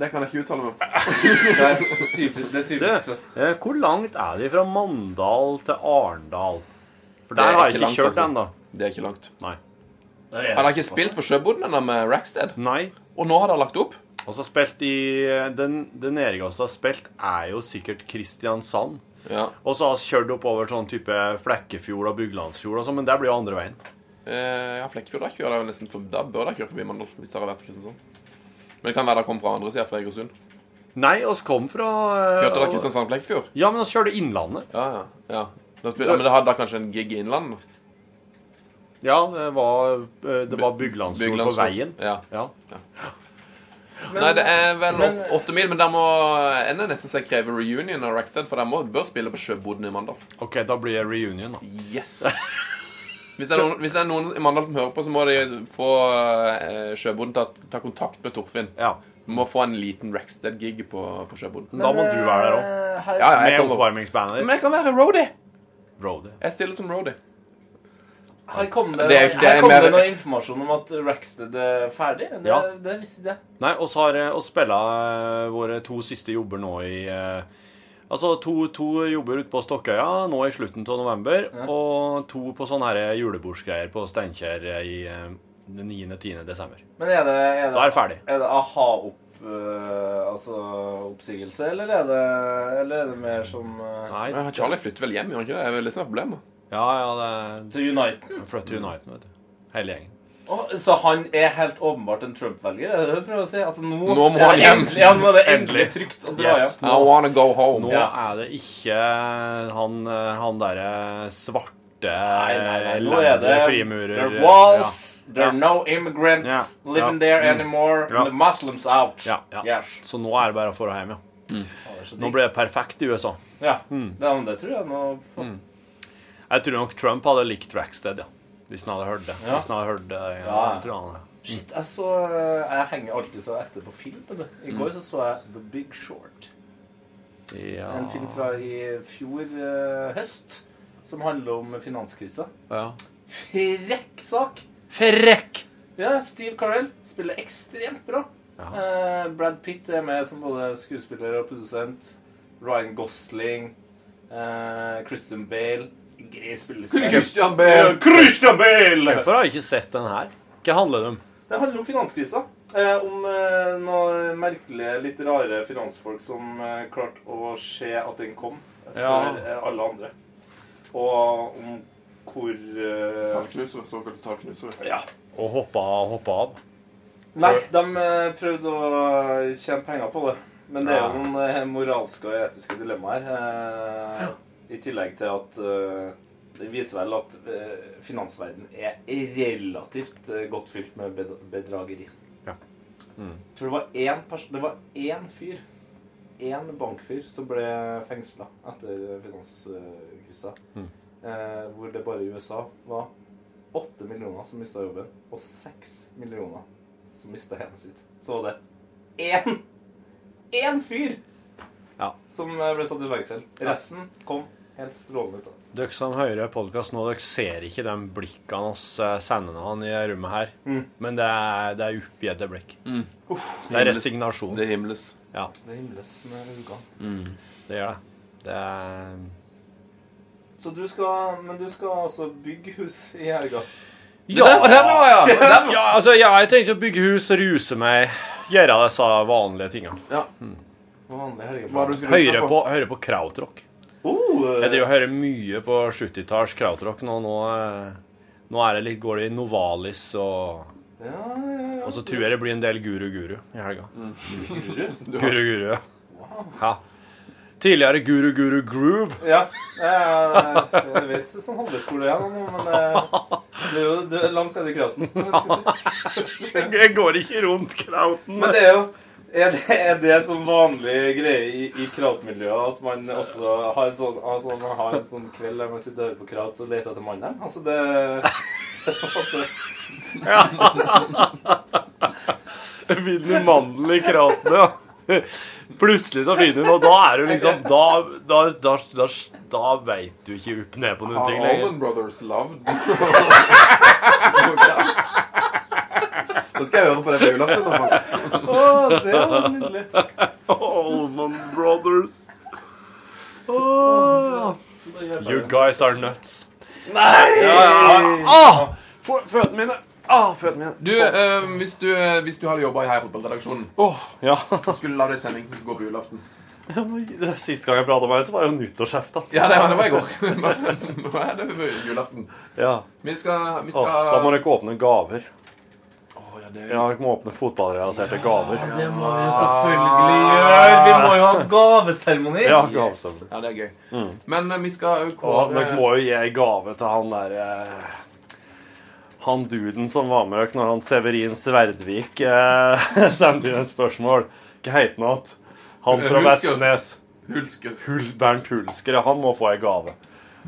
[SPEAKER 3] Det kan jeg ikke uttale meg om.
[SPEAKER 9] Det er typisk, det
[SPEAKER 8] Du,
[SPEAKER 9] er typisk Sven.
[SPEAKER 8] eh, hvor langt er de fra Mandal til Arendal? For
[SPEAKER 3] Det er
[SPEAKER 8] der har jeg
[SPEAKER 3] ikke
[SPEAKER 8] ikke
[SPEAKER 3] langt,
[SPEAKER 8] kjørt
[SPEAKER 3] altså.
[SPEAKER 8] ennå.
[SPEAKER 3] Det er ikke langt.
[SPEAKER 9] Det er
[SPEAKER 3] Han har
[SPEAKER 9] jeg
[SPEAKER 3] ikke
[SPEAKER 9] så-
[SPEAKER 3] spilt på sjøboden ennå med Rackstead.
[SPEAKER 8] Nei.
[SPEAKER 3] Og nå har de lagt opp.
[SPEAKER 8] Og så spilt i eh, Den, den Erik også har spilt, er jo sikkert Kristiansand.
[SPEAKER 3] Ja.
[SPEAKER 8] Og så har vi kjørt oppover sånn type Flekkefjord og Byglandsfjord og sånn, men der blir jo andre veien.
[SPEAKER 3] Eh, ja, Flekkefjord da kjører jeg jo nesten for, Da bør de kjøre forbi Mandal, hvis dere har vært i Kristiansand. Men det kan være de kommer fra andre sida, fra Egersund. Nei, oss kom fra eh,
[SPEAKER 8] Hørte dere Kristiansand Blekkfjord?
[SPEAKER 3] Ja, men oss kjørte Innlandet.
[SPEAKER 8] Ja, ja. ja. Da spil, ja men det hadde da kanskje en gig i Innlandet?
[SPEAKER 3] Ja, det var, eh, det var Byglandsfjord på
[SPEAKER 8] Byglandsfjord.
[SPEAKER 3] veien.
[SPEAKER 8] Ja.
[SPEAKER 3] Ja.
[SPEAKER 8] Nei, det er vel åt- åtte mil, men der må enda nesten se kreve reunion av Rackstead, for de må- bør spille på Sjøboden i Mandal.
[SPEAKER 3] OK, da blir det reunion, da.
[SPEAKER 8] Yes! Hvis det, er noen, hvis det er noen i Mandal som hører på, så må de få eh, Sjøboden til å ta kontakt med Torfinn.
[SPEAKER 3] Ja.
[SPEAKER 8] Vi må få en liten Rackstead-gig på, på Sjøboden.
[SPEAKER 3] Da må du være der òg.
[SPEAKER 8] Ja, ja, Eh, jeg
[SPEAKER 3] Med
[SPEAKER 8] kan,
[SPEAKER 3] oppvarmingsbandet
[SPEAKER 8] men
[SPEAKER 3] ditt.
[SPEAKER 8] jeg kan være roadie.
[SPEAKER 3] Brody.
[SPEAKER 8] Jeg stiller som roadie.
[SPEAKER 9] Her kom det,
[SPEAKER 8] Det er jo ikke- det
[SPEAKER 9] her
[SPEAKER 8] er
[SPEAKER 9] kom
[SPEAKER 8] mer-
[SPEAKER 9] det noe informasjon om at Rackstead er ferdig. Det,
[SPEAKER 3] Ja.
[SPEAKER 9] det visste ikke jeg.
[SPEAKER 3] Nei, oss har eh, oss spilla eh, våre to siste jobber nå i eh, Altså to, to jobber ute på Stokkøya nå i slutten av november, og to på sånne her eh, julebordsgreier på Steinkjer eh, i eh, den 9.-10. desember.
[SPEAKER 9] Men er det, er
[SPEAKER 3] Da er
[SPEAKER 9] det,
[SPEAKER 3] det ferdig.
[SPEAKER 9] er det aha-opp... eh, altså oppsigelse, eller er det, eller er det mer som eh,
[SPEAKER 3] Nei,
[SPEAKER 8] Men Charlie flytter vel hjem, gjør han ikke det? Det er vel det som er problemet.
[SPEAKER 3] Ja, ja, det
[SPEAKER 9] til Uniten?
[SPEAKER 3] er flytt til Uniten, vet du. Hele gjengen.
[SPEAKER 9] Å, så han er helt åpenbart en Trump-velger? Er det det du prøver å si? Altså, nå,
[SPEAKER 8] Nå må han
[SPEAKER 9] Ja,
[SPEAKER 8] hjem.
[SPEAKER 9] Endelig, han må det endelig
[SPEAKER 3] Endelig.
[SPEAKER 9] trygt å dra
[SPEAKER 3] Yes.
[SPEAKER 9] hjem.
[SPEAKER 8] I wanna go
[SPEAKER 3] Nå
[SPEAKER 8] home.
[SPEAKER 3] er det ikke han, eh, han derre svarte
[SPEAKER 9] Nei, nei, nei. Nå
[SPEAKER 3] lærde
[SPEAKER 9] er det
[SPEAKER 3] Eh, frimurer
[SPEAKER 9] There walls, there
[SPEAKER 3] Ja.
[SPEAKER 9] are no immigrants
[SPEAKER 3] Ja.
[SPEAKER 9] living
[SPEAKER 3] Ja.
[SPEAKER 9] there
[SPEAKER 3] Mm.
[SPEAKER 9] anymore.
[SPEAKER 3] Ja.
[SPEAKER 9] The Muslims out.
[SPEAKER 3] Ja, ja.
[SPEAKER 9] Yes.
[SPEAKER 3] Så nå er det bare å få hjem, ja. Nå ble det perfekt i USA.
[SPEAKER 9] Ja, det, men det tror jeg nå
[SPEAKER 3] Jeg tror nok Trump hadde likt Rackstead, ja. Hvis han hadde hørt det.
[SPEAKER 9] Ja.
[SPEAKER 3] Hvis han hadde hørt det, ja,
[SPEAKER 9] Ja.
[SPEAKER 3] Jeg tror han
[SPEAKER 9] Shit, jeg så eh, Jeg henger alltid så etter på film. vet du. I går så så jeg The Big Short.
[SPEAKER 3] ja.
[SPEAKER 9] En film fra i fjor eh, høst som handler om finanskrisa.
[SPEAKER 8] Ja.
[SPEAKER 9] Frekk sak!
[SPEAKER 3] Frekk!
[SPEAKER 9] Ja, Steve Carell spiller ekstremt bra. Eh, Brad Pitt er med som både skuespiller og produsent. Ryan Gosling. eh, Christian Bale. Grei spillestil.
[SPEAKER 8] Christian Bale.
[SPEAKER 9] Christian Bale!
[SPEAKER 3] Hvorfor har jeg ikke sett den her? Hva handler det om?
[SPEAKER 9] Det handler om finanskrisa. Eh, om eh, noen merkelige, litt rare finansfolk som eh, klarte å se at den kom
[SPEAKER 3] Ja.
[SPEAKER 9] før eh, alle andre. Og om hvor eh,
[SPEAKER 8] Tallknusere. Såkalte tallknusere.
[SPEAKER 9] Ja.
[SPEAKER 3] Å hoppe av, hoppe av.
[SPEAKER 9] Nei, de eh, prøvde å tjene penger på det. Men det er jo noen eh, moralske og etiske dilemmaer. Eh, I tillegg til at eh, det viser vel at eh, finansverden er relativt eh, godt fylt med bed bedrageri.
[SPEAKER 3] Ja.
[SPEAKER 9] Tror det var én person Det var én fyr. Én bankfyr som ble fengsla etter finanskrisa. Eh, hvor det bare i USA var åtte millioner som mista jobben, og seks millioner som mista hjemmet sitt. Så var det én én fyr
[SPEAKER 3] Ja.
[SPEAKER 9] som eh, ble satt i fengsel. Resten kom helt strålende ut. av
[SPEAKER 3] Dere som hører podkast nå, dere ser ikke de blikkene oss eh, sender han i rommet her. Men det er, det er oppgitte blikk. Det er resignasjon.
[SPEAKER 8] Det er himles.
[SPEAKER 3] Ja,
[SPEAKER 9] Det himles med ugga.
[SPEAKER 3] det gjør det. Det er
[SPEAKER 9] Så du skal Men du skal altså bygge hus i helga.
[SPEAKER 8] Ja, der var der var jeg, ja. Der var-
[SPEAKER 3] ja, altså, ja, jeg tenker å bygge hus, ruse meg, gjøre disse vanlige tingene.
[SPEAKER 8] ja.
[SPEAKER 9] Vanlig
[SPEAKER 8] Hva er
[SPEAKER 9] helgeplan.
[SPEAKER 8] det du skulle
[SPEAKER 3] Høre
[SPEAKER 8] huske
[SPEAKER 3] på, høre på krautrock.
[SPEAKER 9] Oh,
[SPEAKER 3] Jeg driver og hører mye på 70-talls krautrock nå. Nå, eh, nå er det litt, går det i Novalis, og,
[SPEAKER 9] ja, ja, ja.
[SPEAKER 3] og så tror jeg det blir en del Guru Guru i helga.
[SPEAKER 7] Mm.
[SPEAKER 8] Du har-
[SPEAKER 3] Guru Guru, ja. ja. Tidligere Guru Guru Groove.
[SPEAKER 9] Ja, jeg, jeg vet det er sånn handleskole jeg nå, men eh, det er jo det er langt nede i kraften. som jeg skal si.
[SPEAKER 3] Jeg går ikke rundt krauten.
[SPEAKER 9] Men det er jo er det, er det som vanlig greie i, i krautmiljøet at man også har en sånn, altså, man har en sånn kveld der man sitter og hører på kraut og leter etter mannen? Altså det,
[SPEAKER 3] Finner mandel i krauten, ja. Plutselig så finner hun, og da er hun liksom Da, da, da, da, da veit du ikke opp ned på noen
[SPEAKER 8] Har
[SPEAKER 3] ting lenger.
[SPEAKER 8] Allman Brothers loved? Da skal jeg høre på det på julaften. i så fall.
[SPEAKER 9] å, det var nydelig.
[SPEAKER 3] Allman Brothers. Åh. You guys are nuts.
[SPEAKER 9] Nei!
[SPEAKER 3] Ah! Fø- Føttene mine. Ah, føttene mine.
[SPEAKER 8] Du,
[SPEAKER 9] sånn.
[SPEAKER 8] eh, hvis, du, eh, hvis du hadde jobba i Heia Fotballredaksjonen,
[SPEAKER 3] Åh, ja.
[SPEAKER 8] skulle du lagd ei sending som skulle gå på julaften?
[SPEAKER 3] Sist gang jeg pratet om det, så var det jo nyttårsaften.
[SPEAKER 8] Ja, det var, det var i går. Men Nå er det jo julaften.
[SPEAKER 3] Ja.
[SPEAKER 8] Vi skal, vi
[SPEAKER 3] Åh,
[SPEAKER 8] skal
[SPEAKER 3] da må dere åpne gaver.
[SPEAKER 8] Ja, vi må åpne fotballrelaterte gaver.
[SPEAKER 9] Det må vi selvfølgelig gjøre! Vi må jo ha gaveseremoni!
[SPEAKER 8] Ja, gaveseremoni.
[SPEAKER 7] Ja, det er gøy.
[SPEAKER 8] Mm.
[SPEAKER 7] Men eh, vi skal jo
[SPEAKER 8] Og
[SPEAKER 7] kåre
[SPEAKER 8] dere må jo gi en gave til han derre Han duden som var med dere når han Severin Sverdvik eh, sendte inn et spørsmål. Hva heter han igjen? Han fra
[SPEAKER 7] Hulsker.
[SPEAKER 8] Vestnes.
[SPEAKER 7] Hulsker.
[SPEAKER 8] Hul, Bernt Hulsker. ja, Han må få ei gave.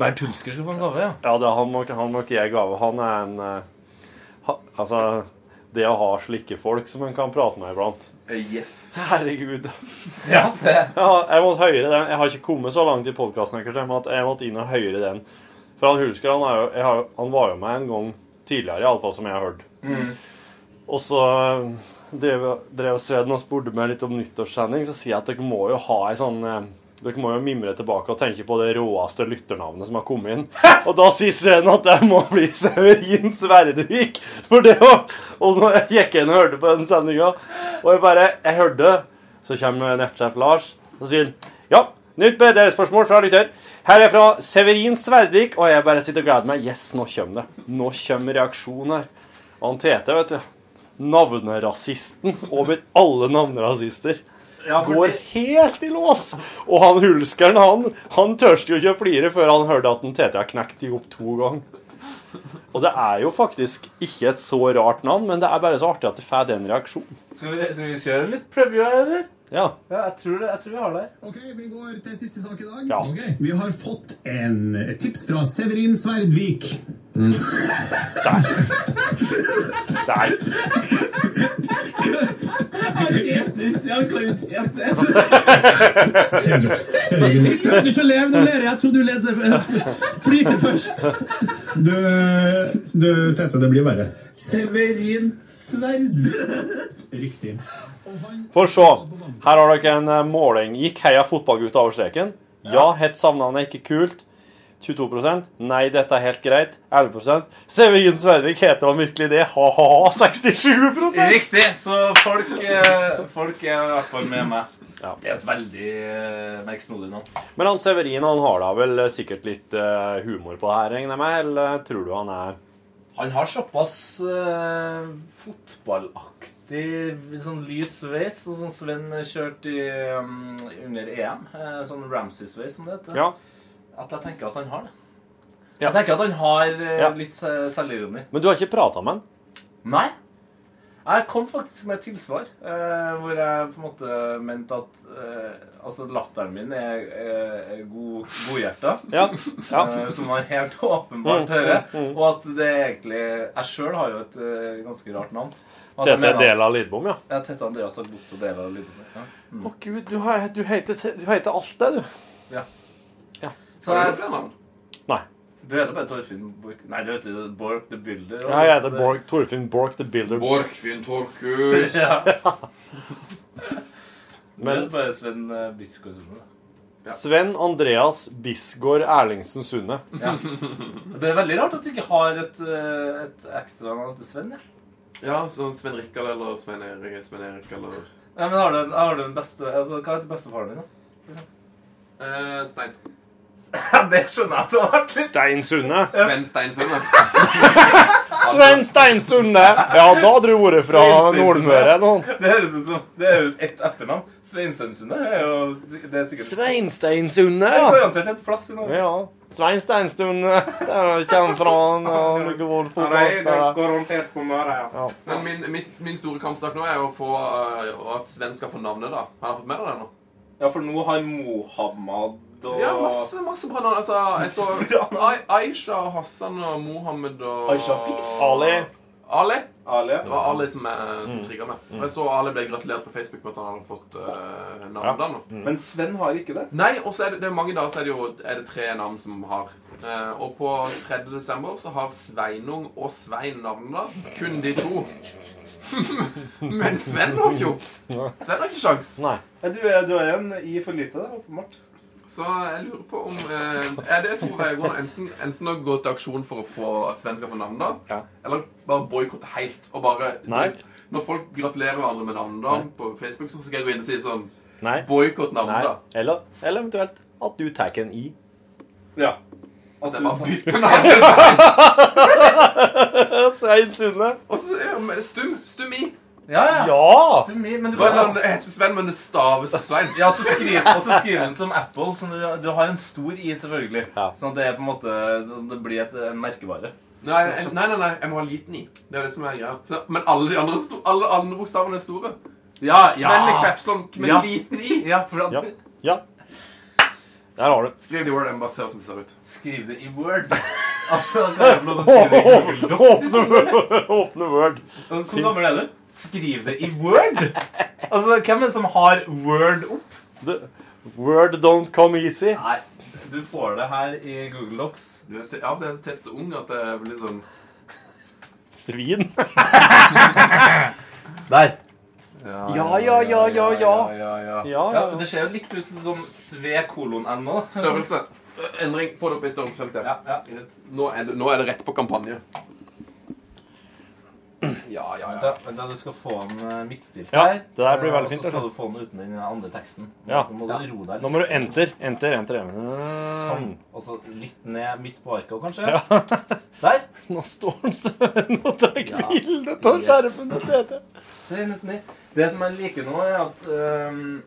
[SPEAKER 9] Bernt Hulsker skal få en gave, ja.
[SPEAKER 8] Ja, det, er han, må, han må ikke gi ei gave. Han er en eh, ha, Altså, det å ha slike folk som en kan prate med iblant
[SPEAKER 7] Eh, Yes.
[SPEAKER 8] Herregud. Ja, jeg måtte høre den. Jeg har ikke kommet så langt i podkasten, men at jeg måtte inn og høre den. For han Hulsker han, er jo, jeg har, jo- han var jo med en gang tidligere, iallfall som jeg har hørt.
[SPEAKER 9] Mm.
[SPEAKER 8] Og så eh, drev, drev Sveden og spurte meg litt om nyttårssending, så sier jeg at dere må jo ha ei sånn eh, dere må jo mimre tilbake og tenke på det råeste lytternavnet som har kommet inn. Og da sier Sveden at det må bli Severin Sverdvik. For det var Og når jeg gikk inn og hørte på den sendinga, og jeg bare Jeg hørte Så kommer nettsjef Lars, og så sier han Ja, nytt BD-spørsmål fra lytter. Her er fra Severin Sverdvik, og jeg bare sitter og gleder meg. Yes, nå kommer det. Nå kommer reaksjonen her. Og han Tete, vet du. Navnerasisten over alle navnerasister.
[SPEAKER 9] Ja, for
[SPEAKER 8] Går
[SPEAKER 9] det-
[SPEAKER 8] helt i lås! Og han hulskeren, han, han tørste jo ikke å flire før han hørte at den Tete har knekt i opp to ganger. Og det er jo faktisk ikke et så rart navn, men det er bare så artig at det får den reaksjonen.
[SPEAKER 9] Skal vi, skal vi kjøre litt preview, eller?
[SPEAKER 8] Ja.
[SPEAKER 9] Ja, jeg tror, det, jeg tror vi har det.
[SPEAKER 12] Ok, vi går til siste sak i dag.
[SPEAKER 8] Ja.
[SPEAKER 12] Vi har fått en, et tips fra Severin Sverdvik.
[SPEAKER 8] Der.
[SPEAKER 13] Han eter ikke, han kan jo ikke ete.
[SPEAKER 12] Severin.
[SPEAKER 13] Jeg trodde ikke å leve, nå ler jeg. Jeg trodde du ledde eh, flyte først.
[SPEAKER 12] Du, du Tete, det blir verre.
[SPEAKER 13] Severin Sverd.
[SPEAKER 12] Riktig.
[SPEAKER 8] For se, her har dere en eh, måling. Gikk heia fotballgutta over streken? Ja, hett savnavnet er ikke kult. 22 Nei, dette er helt greit. 11 Severin Sverdvik heter han virkelig det? Ha-ha-ha. 67
[SPEAKER 9] Riktig! Så folk, eh, folk er i hvert fall med meg.
[SPEAKER 8] Ja.
[SPEAKER 9] Det er jo et veldig eh, merksnodig navn.
[SPEAKER 8] Men han Severin han har da vel eh, sikkert litt eh, humor på det her, regner jeg med? Eller eh, tror du han er
[SPEAKER 9] Han har såpass eh, fotballaktig sånn lys sveis, sånn som Sven kjørte i, um, under EM. eh, sånn Ramsay-sveis, som det heter.
[SPEAKER 8] Ja.
[SPEAKER 9] At jeg tenker at han har det.
[SPEAKER 8] Ja.
[SPEAKER 9] Jeg tenker at han har eh,
[SPEAKER 8] Ja.
[SPEAKER 9] litt eh, selvironi.
[SPEAKER 8] Men du har ikke prata med han?
[SPEAKER 9] Nei. Jeg kom faktisk med et tilsvar eh, hvor jeg på en måte mente at eh, altså latteren min er, er, er god, godhjerta.
[SPEAKER 8] Ja, ja.
[SPEAKER 9] Eh, som man helt åpenbart
[SPEAKER 8] Mm,
[SPEAKER 9] hører.
[SPEAKER 8] mm, mm.
[SPEAKER 9] Og at det er egentlig Jeg sjøl har jo et eh, ganske rart navn. Og at jeg
[SPEAKER 8] Tete er
[SPEAKER 9] mener-
[SPEAKER 8] del av Lidbom, ja.
[SPEAKER 9] Ja, Tete Andreas har bodd på deler av Lidbom. Ja. Mm.
[SPEAKER 8] Å gud, du, har, du, heter, du heter alt det, du.
[SPEAKER 7] Har
[SPEAKER 9] Så
[SPEAKER 7] du noen
[SPEAKER 9] jeg,
[SPEAKER 7] flere navn?
[SPEAKER 9] du heter bare Torfinn Borch Nei, du heter jo Borch the Builder. altså, og-
[SPEAKER 8] Ja, jeg heter Borg, Torfinn Borg the Builder.
[SPEAKER 7] Borchfinn Torkhus.
[SPEAKER 9] Ja.
[SPEAKER 8] Men-
[SPEAKER 9] Du heter bare Sven eh, Biskår Sunde. da.
[SPEAKER 8] Sven Andreas Bisgaard Erlingsen Sunde.
[SPEAKER 9] Det er veldig rart at du ikke har et, eh, et ekstra navn til Sven. Ja.
[SPEAKER 7] Ja, sånn Sven Rikard eller Svein Erik, Svein Erik eller
[SPEAKER 9] Nei, men har du, en- har du en beste, altså, Hva heter bestefaren din, da?
[SPEAKER 7] eh, Stein.
[SPEAKER 9] Ja, det skjønner jeg at det har vært litt
[SPEAKER 8] Stein Sunde.
[SPEAKER 7] Sven Steinsson, da.
[SPEAKER 8] Sven Stein Sunde! Ja, da hadde du vært fra
[SPEAKER 9] Svein Stein Sunde.
[SPEAKER 8] Nordmøre eller noe.
[SPEAKER 9] Det høres ut som Det er jo ett etternavn. Sveinsønnsundet er jo Det er sikkert
[SPEAKER 8] Svein Stein Sunde,
[SPEAKER 9] Det er
[SPEAKER 8] ja.
[SPEAKER 9] garantert et plass i Norge.
[SPEAKER 8] Ja. Svein Stein Sunde. Der kommer fra han. og noe vold- fotballspiller.
[SPEAKER 9] garantert på Møre, ja.
[SPEAKER 7] Men min, mitt, min store kampsak nå er jo å få eh, at Sven skal få navnet, da. Har han fått med deg det nå?
[SPEAKER 9] Ja, for nå har Mohammed og
[SPEAKER 7] Ja, masse masse bra navn. Altså, jeg så
[SPEAKER 9] Bra navn.
[SPEAKER 7] Ai- Aisha, Hassan og Mohammed og
[SPEAKER 9] Aisha Fif.
[SPEAKER 8] Ali.
[SPEAKER 7] Ali?
[SPEAKER 9] Ali.
[SPEAKER 7] Det var Ali som, eh, som trigga meg. For jeg så Ali ble gratulert på Facebook med at han hadde fått eh, navnet da nå.
[SPEAKER 9] Men Sven har ikke det.
[SPEAKER 7] Nei, og så er det, det er mange dager så er det jo er det tre navn som har. Eh, og på 3. desember så har Sveinung og Svein navnet da. Kun de to. Men Sven har ikke jo. Sven har ikke sjans.
[SPEAKER 8] Nei.
[SPEAKER 9] Ja, Du er, du er en i for lite, da, åpenbart.
[SPEAKER 7] Så jeg lurer på om eh, Er det to veier å gå? nå? Enten, enten å gå til aksjon for å få at Sven skal få navn, da.
[SPEAKER 8] Ja.
[SPEAKER 7] Eller bare boikotte helt. Og bare
[SPEAKER 8] Nei.
[SPEAKER 7] Når folk gratulerer hverandre med navn da på Facebook, så skal jeg gå inn og si sånn
[SPEAKER 8] Nei.
[SPEAKER 7] Boikott navn,
[SPEAKER 8] Nei.
[SPEAKER 7] da.
[SPEAKER 8] Eller, eller eventuelt at du tar en i.
[SPEAKER 9] Ja.
[SPEAKER 7] At det var bytte navn til Svein.
[SPEAKER 8] Svein Sunde.
[SPEAKER 7] Og så ja, men Stum. Stumi.
[SPEAKER 9] Ja, ja.
[SPEAKER 8] Ja.
[SPEAKER 9] Stumi, men du
[SPEAKER 7] Bare
[SPEAKER 9] kan-
[SPEAKER 7] sånn, det heter Sven, men det staves Svein.
[SPEAKER 9] Ja, så skriver, og så skriver hun som Apple. Så du, du har en stor i, selvfølgelig. Sånn at det er på en måte Det blir et, en merkevare.
[SPEAKER 7] Nei, en- nei, nei, nei, jeg må ha liten i. Det er det som er greia. Så- Men alle de andre, sto- alle andre bokstavene er store.
[SPEAKER 9] Ja, ja.
[SPEAKER 7] Sven er Kvepslund med
[SPEAKER 9] Ja.
[SPEAKER 7] liten i.
[SPEAKER 9] Ja, for
[SPEAKER 8] Ja. Der har du
[SPEAKER 7] Skriv det i Word, jeg må bare se hvordan det ser ut.
[SPEAKER 9] Skriv det i Word. Altså, kan jeg få lov til å skrive det i Google Docs? i stedet?
[SPEAKER 8] Åpne Word.
[SPEAKER 9] Altså, Hvor gammel er du? Skriv det i Word! Altså, Hvem er det som har Word opp?
[SPEAKER 8] Word don't come easy.
[SPEAKER 9] Nei, du får det her i Google Docs.
[SPEAKER 7] Du er til- Av og til er jeg tett så ung at jeg blir sånn
[SPEAKER 8] Svin.
[SPEAKER 9] Der.
[SPEAKER 8] Ja, ja, ja, ja, ja.
[SPEAKER 7] ja, ja.
[SPEAKER 9] Ja, men Det ser jo litt ut som sve kolon no.
[SPEAKER 7] Størrelse. Ø, Endring. Få det opp i størrelsesfeltet.
[SPEAKER 9] Ja, ja.
[SPEAKER 7] Nå, er det- nå er det rett på kampanje. Ja, ja, ja.
[SPEAKER 9] Vent da, vent da, du skal få den eh, midtstilt
[SPEAKER 8] Ja,
[SPEAKER 9] her.
[SPEAKER 8] det der blir
[SPEAKER 9] eh,
[SPEAKER 8] veldig
[SPEAKER 9] Og
[SPEAKER 8] fint,
[SPEAKER 9] så skal
[SPEAKER 8] altså.
[SPEAKER 9] du få den uten den andre teksten. Nå
[SPEAKER 8] Ja.
[SPEAKER 9] må du roe deg litt.
[SPEAKER 8] Nå må du enter, enter, enter.
[SPEAKER 9] Sånn. Og så litt ned midt på arket, også, kanskje.
[SPEAKER 8] Ja.
[SPEAKER 9] Der.
[SPEAKER 8] Nå står han søren og tar
[SPEAKER 9] Ja.
[SPEAKER 8] kvilene av
[SPEAKER 9] Yes.
[SPEAKER 8] skjermen til Tete.
[SPEAKER 9] Se litt ned. Det som jeg liker nå, er at ehm,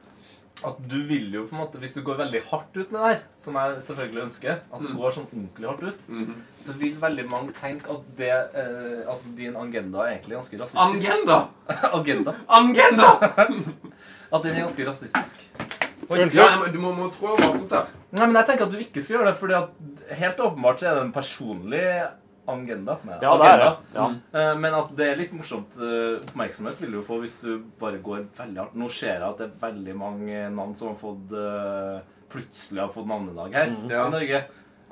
[SPEAKER 9] at du vil jo på en måte, Hvis du går veldig hardt ut med det her, som jeg selvfølgelig ønsker, at
[SPEAKER 7] Mm.
[SPEAKER 9] du går sånn ordentlig hardt ut,
[SPEAKER 7] Mm-hmm.
[SPEAKER 9] så vil veldig mange tenke at det, eh, altså din agenda er egentlig ganske rasistisk.
[SPEAKER 7] Agenda!
[SPEAKER 9] agenda.
[SPEAKER 7] Agenda!
[SPEAKER 9] At den er ganske rasistisk.
[SPEAKER 7] Ja, jeg må- du må, må trå varsomt der.
[SPEAKER 9] Nei, men jeg tenker at du ikke skal gjøre det, fordi at helt åpenbart så er det en personlig agenda. Med
[SPEAKER 8] Ja, det er det. Ja.
[SPEAKER 9] Eh, Men at det er litt morsomt eh, oppmerksomhet vil du få hvis du bare går veldig hardt. Nå ser jeg at det er veldig mange navn som har fått eh, plutselig har fått navnedag her
[SPEAKER 7] Ja.
[SPEAKER 9] i Norge.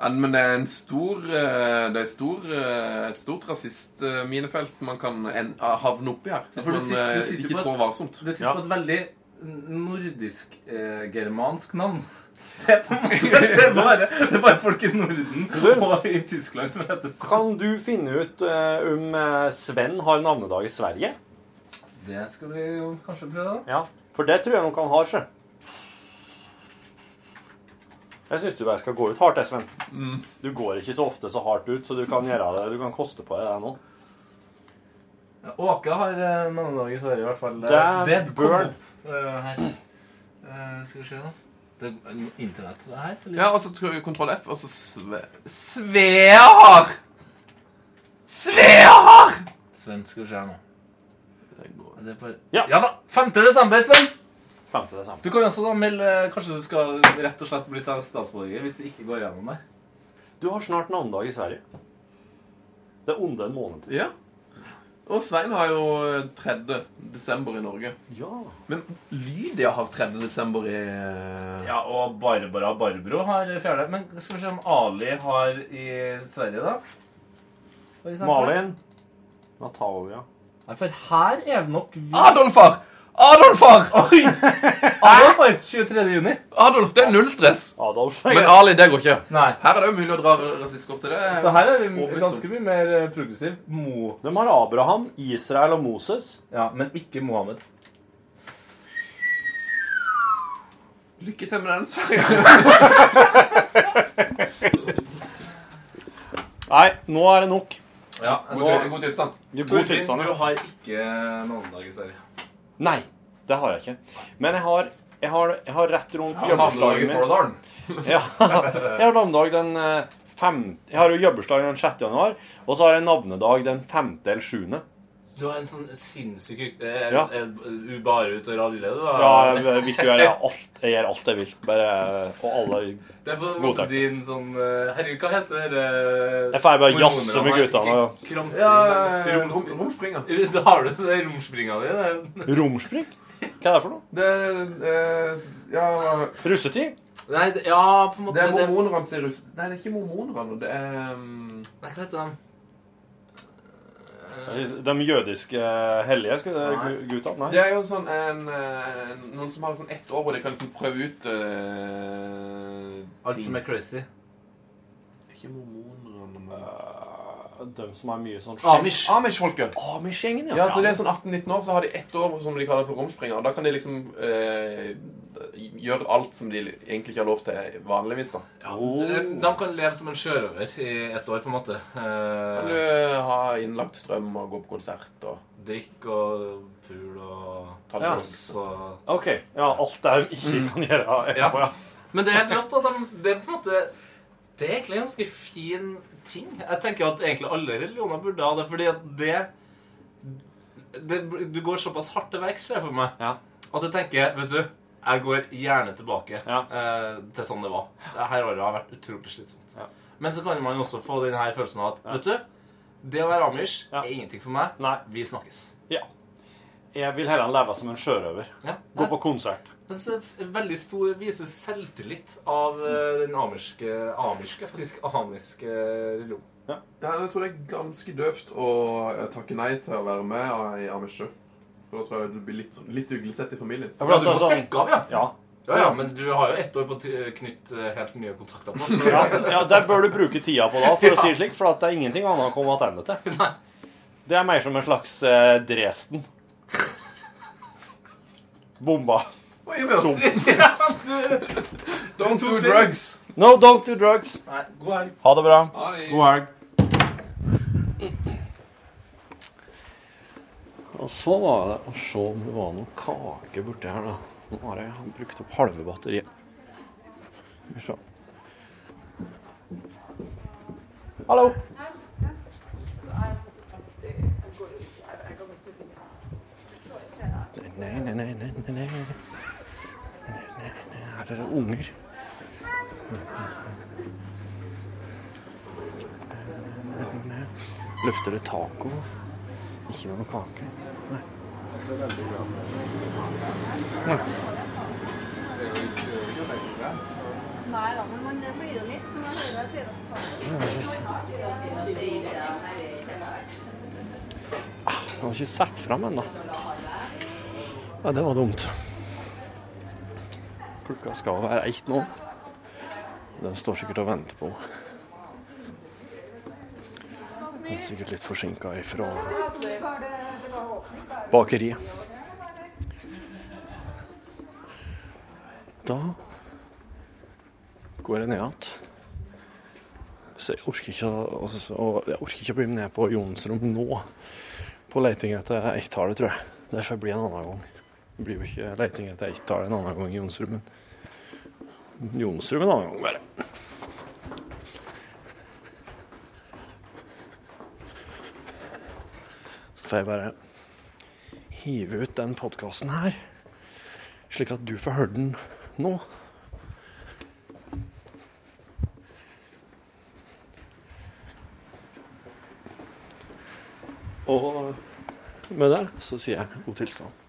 [SPEAKER 7] Ja, men det er en stor eh, Det er stor, eh, et stort rasistminefelt man kan en, havne oppi her. Hvis
[SPEAKER 9] for du
[SPEAKER 7] man
[SPEAKER 9] sit- du
[SPEAKER 7] eh,
[SPEAKER 9] sitter
[SPEAKER 7] ikke
[SPEAKER 9] på-
[SPEAKER 7] trår varsomt.
[SPEAKER 9] Det sitter på et veldig eh, nordisk-germansk navn. Det er, på en måte, det, er bare, det er bare folk i Norden og i Tyskland som heter sånn.
[SPEAKER 8] Kan du finne ut eh, om eh, Sven har navnedag i Sverige?
[SPEAKER 9] Det skal vi jo kanskje prøve, da.
[SPEAKER 8] Ja. For det tror jeg nok han har, sjø. Jeg syns du bare skal gå ut hardt, jeg, Sven. Du går ikke så ofte så hardt ut, så du kan gjøre det. Du kan koste på deg det nå.
[SPEAKER 9] Åke har eh, navnedag i Sverige, i hvert fall.
[SPEAKER 8] Dæv
[SPEAKER 9] det kom
[SPEAKER 8] burn.
[SPEAKER 9] opp eh, her. Eh, skal vi se, da. Det er internett her? Eller?
[SPEAKER 7] Ja, og så trykker vi kontroll F, og så sve... Svear! Svear!
[SPEAKER 9] Sven, skal vi se her nå.
[SPEAKER 7] Det går.
[SPEAKER 9] Det er bare...
[SPEAKER 8] Ja.
[SPEAKER 9] ja da! 5. desember, Sven!
[SPEAKER 8] Femte det samme.
[SPEAKER 9] Du kan jo også da melde eh, Kanskje du skal rett og slett bli statsborger hvis det ikke går gjennom der.
[SPEAKER 8] Du har snart navnedag i Sverige. Det er onde en måned til.
[SPEAKER 7] Ja. Og Svein har jo 3. desember i Norge.
[SPEAKER 8] Ja.
[SPEAKER 7] Men Lydia har 3. desember i
[SPEAKER 9] Ja, og Barbara Barbro har fjerde. Men skal vi se om Ali har i Sverige, da? For eksempel.
[SPEAKER 8] Malin. Natalia.
[SPEAKER 9] Nei, for her er det nok vi
[SPEAKER 7] Adolfar! Adolfar!
[SPEAKER 9] Oi! Adolf har 23. juni.
[SPEAKER 7] Adolf, Altså, det er null stress.
[SPEAKER 8] Adolf.
[SPEAKER 7] Men Ali, det går ikke.
[SPEAKER 9] Nei.
[SPEAKER 7] Her er det umulig å dra rasistkort til det.
[SPEAKER 9] Så her er vi
[SPEAKER 7] Overbevist om.
[SPEAKER 9] ganske mye mer eh, progressiv. Mo...
[SPEAKER 8] De har Abraham, Israel og Moses.
[SPEAKER 9] Ja, men ikke Mohammed.
[SPEAKER 7] Lykke til med den, Sverre.
[SPEAKER 8] Nei, nå er det nok.
[SPEAKER 9] Ja,
[SPEAKER 7] God, god tilstand.
[SPEAKER 8] God tilstand. ja.
[SPEAKER 9] har ikke navnedag i Sverige.
[SPEAKER 8] Nei, det har jeg ikke. Men jeg har, jeg har, jeg har rett rundt
[SPEAKER 7] Han havner i
[SPEAKER 8] jobbersdagen min.
[SPEAKER 7] Fordalen.
[SPEAKER 8] Ja, jeg har navnedag den eh, fem... Jeg har jo jobbersdag den 6. januar, og så har jeg navnedag den 5. eller 7.
[SPEAKER 9] Du har en sånn sinnssyk eh,
[SPEAKER 8] Ja.
[SPEAKER 9] eh, Du bare ut og raller, du, da.
[SPEAKER 8] Ja, jeg, jeg, vil ikke gjøre alt, jeg gjør alt jeg vil. Bare, og alle...
[SPEAKER 9] Det er på en
[SPEAKER 8] God
[SPEAKER 9] måte
[SPEAKER 8] takk.
[SPEAKER 9] din sånn eh, Herregud, hva heter eh, det?
[SPEAKER 8] Jeg får bare jazze med gutta. og-
[SPEAKER 7] Ja,
[SPEAKER 9] Krumspring.
[SPEAKER 7] rom- romspringer.
[SPEAKER 9] Da har du så det romspringa di. det.
[SPEAKER 8] Romspring? Hva er det for noe?
[SPEAKER 7] Det er eh, Ja
[SPEAKER 8] Russetid?
[SPEAKER 9] Nei, det, ja, på en måte
[SPEAKER 7] Det er
[SPEAKER 9] det-
[SPEAKER 7] mormonerne sin rus... Nei, det er ikke mormonerne. Det er um,
[SPEAKER 9] Nei, hva heter den?
[SPEAKER 8] De jødiske hellige skulle- gu- gutta? Nei.
[SPEAKER 7] Det er jo sånn en, eh, Noen som har sånn ett år hvor de kan liksom prøve ut eh,
[SPEAKER 9] Alt
[SPEAKER 7] ting.
[SPEAKER 9] som er crazy.
[SPEAKER 7] Ikke mormonerne men-
[SPEAKER 8] de Eh, som er mye sånn
[SPEAKER 7] Amish. Amish-folket.
[SPEAKER 8] Amish-gjengen, ja.
[SPEAKER 7] Ja, så det er sånn 18-19 år, så har de ett år som de kaller for romspringer. Da kan de liksom eh, gjøre alt som de egentlig ikke har lov til vanligvis, da.
[SPEAKER 9] Eh, De kan leve som en sjørøver i ett år, på en måte.
[SPEAKER 7] Kan
[SPEAKER 9] Eh,
[SPEAKER 7] du ha innlagt strøm og gå på konsert og
[SPEAKER 9] Drikke og pul og
[SPEAKER 7] Ta
[SPEAKER 9] ja.
[SPEAKER 7] sjansen.
[SPEAKER 9] og
[SPEAKER 8] OK. Ja, alt det de ikke
[SPEAKER 7] Mm.
[SPEAKER 8] kan gjøre etterpå, ja.
[SPEAKER 9] Men det er helt rått at de Det er på en måte Det er egentlig en ganske fin ting. Jeg tenker at egentlig alle religioner burde ha det, fordi at det, det Du går såpass hardt til verks, ser jeg for meg, at du tenker Vet du, jeg går gjerne tilbake eh, til sånn det var. Dette året har vært utrolig slitsomt. Men så kan man jo også få den her følelsen av at Vet du, det å være amish er ingenting for meg. Vi snakkes.
[SPEAKER 8] Ja. Jeg vil heller leve som en sjørøver. Gå på konsert.
[SPEAKER 9] Jeg synes det er veldig stor viser selvtillit av eh, den amerske, amerske faktisk amiske eh, religionen.
[SPEAKER 7] Ja, jeg tror det er ganske døvt å eh, takke nei til å være med i Amish. For da tror jeg du blir litt, litt uglesett i familien.
[SPEAKER 9] Ja, du må
[SPEAKER 8] sånn-
[SPEAKER 9] stikke av, ja.
[SPEAKER 8] ja.
[SPEAKER 9] ja. men du har jo ett år på å ty- knytte eh, helt nye kontakter på.
[SPEAKER 8] Ja, ja, Der bør du bruke tida på, da, for å si det slik, for at det er ingenting annet å komme tilbake til. Det er mer som en slags eh, Dresden. Bomba.
[SPEAKER 7] Hva gjør vi oss? Don't do
[SPEAKER 8] Tom.
[SPEAKER 7] drugs.
[SPEAKER 8] No, don't do drugs.
[SPEAKER 9] Nei, god helg.
[SPEAKER 8] Ha det bra.
[SPEAKER 7] Ha det.
[SPEAKER 8] God helg. Og så var det å se om det var noe kake borti her, da. Nå har jeg brukt opp halve batteriet. Skal vi se. Hallo. Nei, nei, nei, nei, nei, nei. Her er det unger. Løfter det taco? Ikke noe kake. Nei. Nei.
[SPEAKER 14] Nei da, men man blir jo litt når man hører
[SPEAKER 8] Ja, precis. Jeg har ikke satt fram ennå. Ja, det var dumt. Klokka skal være ett nå. Den står sikkert og venter på meg. Den er sikkert litt forsinka ifra bakeriet. Da går jeg ned igjen. Så jeg orker ikke å, altså, å- jeg orker ikke å bli med ned på Jons rom nå. På leiting etter ett-tallet, tror jeg. Det får bli en annen gang. Det blir jo ikke leiting etter ett-tallet en annen gang i Jonsrud, men Jonsrud en annen gang, bare. Så får jeg bare hive ut den podkasten her, slik at du får høre den nå. Og med det så sier jeg god tilstand.